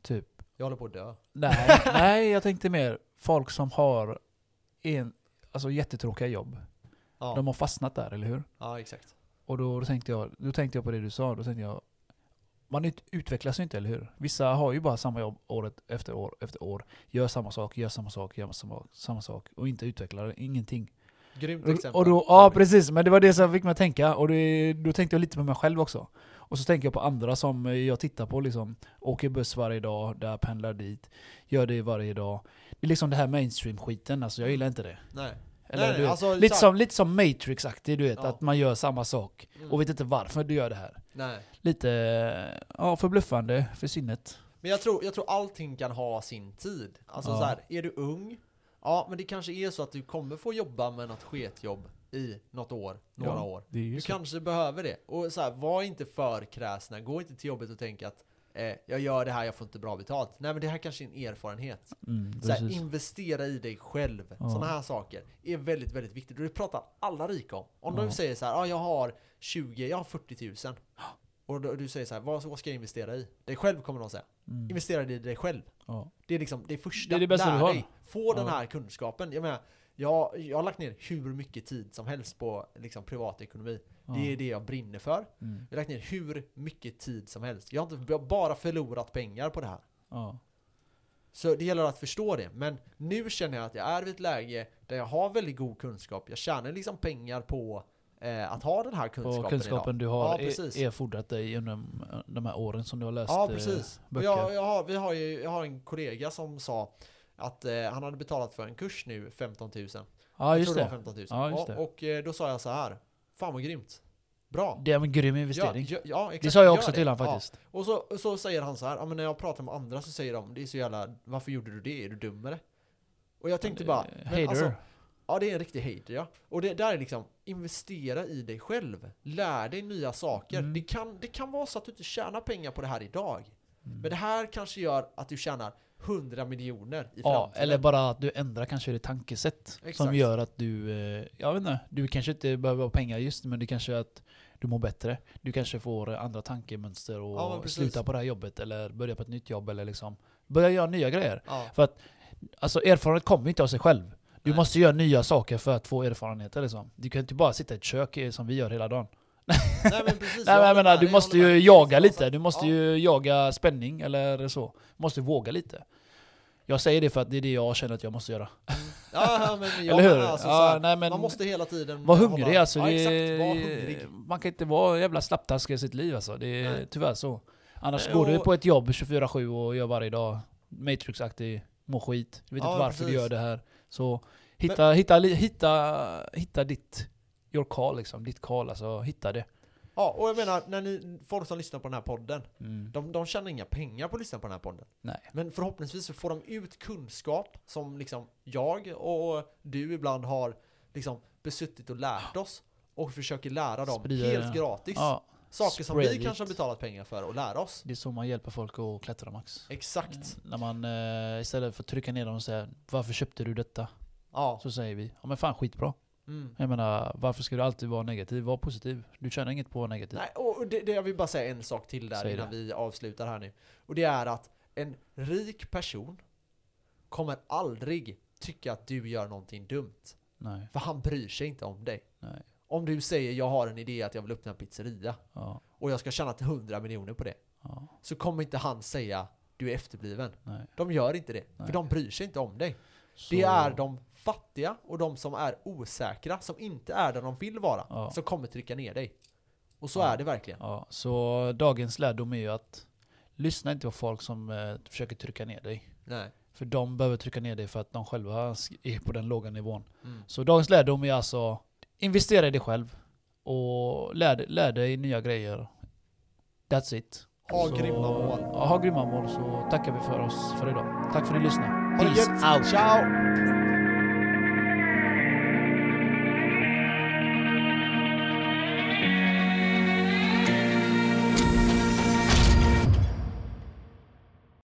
S2: Typ,
S1: jag håller på att dö.
S2: nej, nej jag tänkte mer folk som har en, alltså jättetråkiga jobb.
S1: Ja,
S2: De har fastnat där, eller hur?
S1: ja exakt.
S2: Och då, då, tänkte jag, då tänkte jag på det du sa, då tänkte jag man ut- utvecklas ju inte, eller hur? Vissa har ju bara samma jobb året efter år efter år. Gör samma sak, gör samma sak, gör samma, samma sak. Och inte utvecklar ingenting.
S1: Grymt
S2: Och,
S1: exempel.
S2: och då, ja precis, men det var det som fick mig att tänka. Och det, då tänkte jag lite på mig själv också. Och så tänker jag på andra som eh, jag tittar på liksom. Åker buss varje dag, där pendlar dit. Gör det varje dag. Det är liksom det här mainstream-skiten, alltså jag gillar inte det.
S1: Nej.
S2: Eller,
S1: Nej,
S2: du vet,
S1: alltså,
S2: lite,
S1: så här-
S2: som, lite som Matrix-aktig, du vet.
S1: Ja.
S2: Att man gör samma sak.
S1: Mm.
S2: Och vet inte varför du gör det här.
S1: Nej.
S2: Lite ja, förbluffande för sinnet.
S1: Men jag tror, jag tror allting kan ha sin tid. Alltså
S2: Ja.
S1: så här, är du ung? Ja, men det kanske är så att du kommer få jobba med något sketjobb i något år, några
S2: Ja.
S1: år.
S2: Det är
S1: Du kanske behöver det. Och så här, var inte för kräsna. Gå inte till jobbet och tänk att eh, jag gör det här, jag får inte bra betalt. Nej, men det här kanske är en erfarenhet.
S2: Mm,
S1: Så här,
S2: precis.
S1: investera i dig själv.
S2: Ja.
S1: Sådana här saker är väldigt, väldigt viktigt. Och det pratar alla rika om. Om
S2: Ja.
S1: de säger så här, ah, jag har 20, jag har 40 000. Och då- du säger så här, vad, vad ska jag investera i? Dig själv kommer de säga.
S2: Mm,
S1: Investera i dig själv.
S2: ja.
S1: Det är liksom det första.
S2: Det är det bästa
S1: Lär
S2: du har.
S1: dig. Få den
S2: Ja.
S1: här kunskapen. Jag menar, jag, jag har lagt ner hur mycket tid som helst på liksom, privatekonomi.
S2: Ja.
S1: Det är det jag brinner för.
S2: Mm,
S1: Jag har lagt ner hur mycket tid som helst. Jag har, inte, jag har bara förlorat pengar på det här.
S2: ja.
S1: Så det gäller att förstå det. Men nu känner jag att jag är vid ett läge där jag har väldigt god kunskap. Jag tjänar liksom pengar på eh, att ha den här kunskapen,
S2: Och kunskapen
S1: idag.
S2: du har
S1: Ja, precis.
S2: ja, erfordrat dig genom eh, de här åren som du har läst
S1: Ja,
S2: eh,
S1: precis. Och
S2: böcker.
S1: Jag, jag, har, vi har ju, jag har en kollega som sa att eh, han hade betalat för en kurs nu 15 000.
S2: ja,
S1: jag
S2: just
S1: tror det
S2: det.
S1: var 15 000.
S2: Ja, just det.
S1: och, och eh, då sa jag så här. Fan vad grymt. Bra.
S2: Det är en grym investering.
S1: Ja, ja, ja, exakt,
S2: det sa jag
S1: Gör
S2: också
S1: det.
S2: till honom
S1: Ja.
S2: faktiskt.
S1: Och så, och så säger han så här, ja, men när jag pratar med andra så säger de, det är så jävla, varför gjorde du det? Är du dum eller? Och jag tänkte bara,
S2: Eh,
S1: men
S2: Hater.
S1: alltså, ja det är en riktig hater ja. Och det där är liksom, investera i dig själv. Lär dig nya saker.
S2: Mm.
S1: Det, kan, det kan vara så att du inte tjänar pengar på det här idag.
S2: Mm.
S1: Men det här kanske gör att du tjänar 100 miljoner i
S2: Ja,
S1: framtiden.
S2: eller bara att du ändrar kanske ditt tankesätt.
S1: Exakt.
S2: Som gör att du, eh, jag vet inte, du kanske inte behöver ha pengar just nu, men det kanske är att du mår bättre. Du kanske får eh, andra tankemönster och
S1: Ja, men precis.
S2: slutar på det här jobbet eller börjar på ett nytt jobb eller liksom börja göra nya grejer.
S1: Ja,
S2: För att alltså, erfarenhet kommer inte av sig själv. Du
S1: Nej.
S2: måste göra nya saker för att få erfarenheter liksom. Du kan inte bara sitta i ett kök eh, som vi gör hela dagen.
S1: nej men precis.
S2: Nej, men
S1: håller
S2: jag menar,
S1: med
S2: du
S1: dig,
S2: måste
S1: jag håller
S2: ju
S1: med dig.
S2: jaga
S1: Så-
S2: lite. Du måste
S1: ja.
S2: ju jaga spänning eller så. Du måste våga lite. Jag säger det för att det är det jag känner att jag måste göra.
S1: Ja, men jag
S2: eller hur?
S1: menar, Alltså, så
S2: ja,
S1: här,
S2: nej, men
S1: man måste hela tiden
S2: vara
S1: hålla-
S2: hungrig alltså.
S1: Ja,
S2: det,
S1: exakt, var hungrig.
S2: Man kan inte vara en jävla slapptaskig i sitt liv alltså. Det är
S1: Nej.
S2: tyvärr så. Annars
S1: Nej,
S2: går du
S1: och-
S2: på ett jobb 24-7 och gör varje dag Matrix-aktig, mår skit. Du vet
S1: Ja,
S2: inte varför du
S1: precis.
S2: gör det här. Så hitta, hitta, li- hitta, hitta ditt, your call liksom. Ditt call alltså. Hitta det.
S1: Ja, och jag menar, när ni, folk som lyssnar på den här podden,
S2: Mm.
S1: de, de tjänar inga pengar på att lyssna på den här podden.
S2: Nej.
S1: Men förhoppningsvis så får de ut kunskap som liksom jag och du ibland har liksom besuttit och lärt oss. Och försöker lära dem
S2: Sprida
S1: helt
S2: det.
S1: gratis.
S2: Ja,
S1: Saker som vi
S2: spread it.
S1: kanske har betalat pengar för och lära oss.
S2: Det är så man hjälper folk att klättra max.
S1: Exakt.
S2: När man eh, istället för att trycka ner dem och säga Varför köpte du detta?
S1: Ja.
S2: Så säger vi, ja men fan skitbra.
S1: Mm.
S2: Jag menar, varför ska du alltid vara negativ? Var positiv. Du tjänar inget på att vara negativ.
S1: Nej, och det, det, jag vill bara säga en sak till där
S2: Säg
S1: innan vi avslutar här nu. Och det är att en rik person kommer aldrig tycka att du gör någonting dumt.
S2: Nej.
S1: För han bryr sig inte om dig.
S2: Nej.
S1: Om du säger jag har en idé att jag vill öppna en pizzeria
S2: Ja,
S1: och jag ska tjäna till 100 miljoner på det.
S2: ja,
S1: Så kommer inte han säga du är efterbliven.
S2: nej.
S1: De gör inte det.
S2: Nej.
S1: För de bryr sig inte om dig.
S2: Så,
S1: Det är de fattiga och de som är osäkra, som inte är där de vill vara,
S2: Ja.
S1: som kommer trycka ner dig. Och så
S2: Ja.
S1: är det verkligen.
S2: Ja, så dagens lärdom är ju att lyssna inte på folk som eh, försöker trycka ner dig.
S1: Nej.
S2: För de behöver trycka ner dig för att de själva sk- är på den låga nivån.
S1: Mm.
S2: Så dagens lärdom är alltså investera i dig själv och lär, lär dig nya grejer. That's it.
S1: Ha
S2: Så-
S1: grymma mål.
S2: Ja, ha grymma mål så tackar vi för oss för idag. Tack för att ni lyssnade.
S1: Ha det gött. Ciao!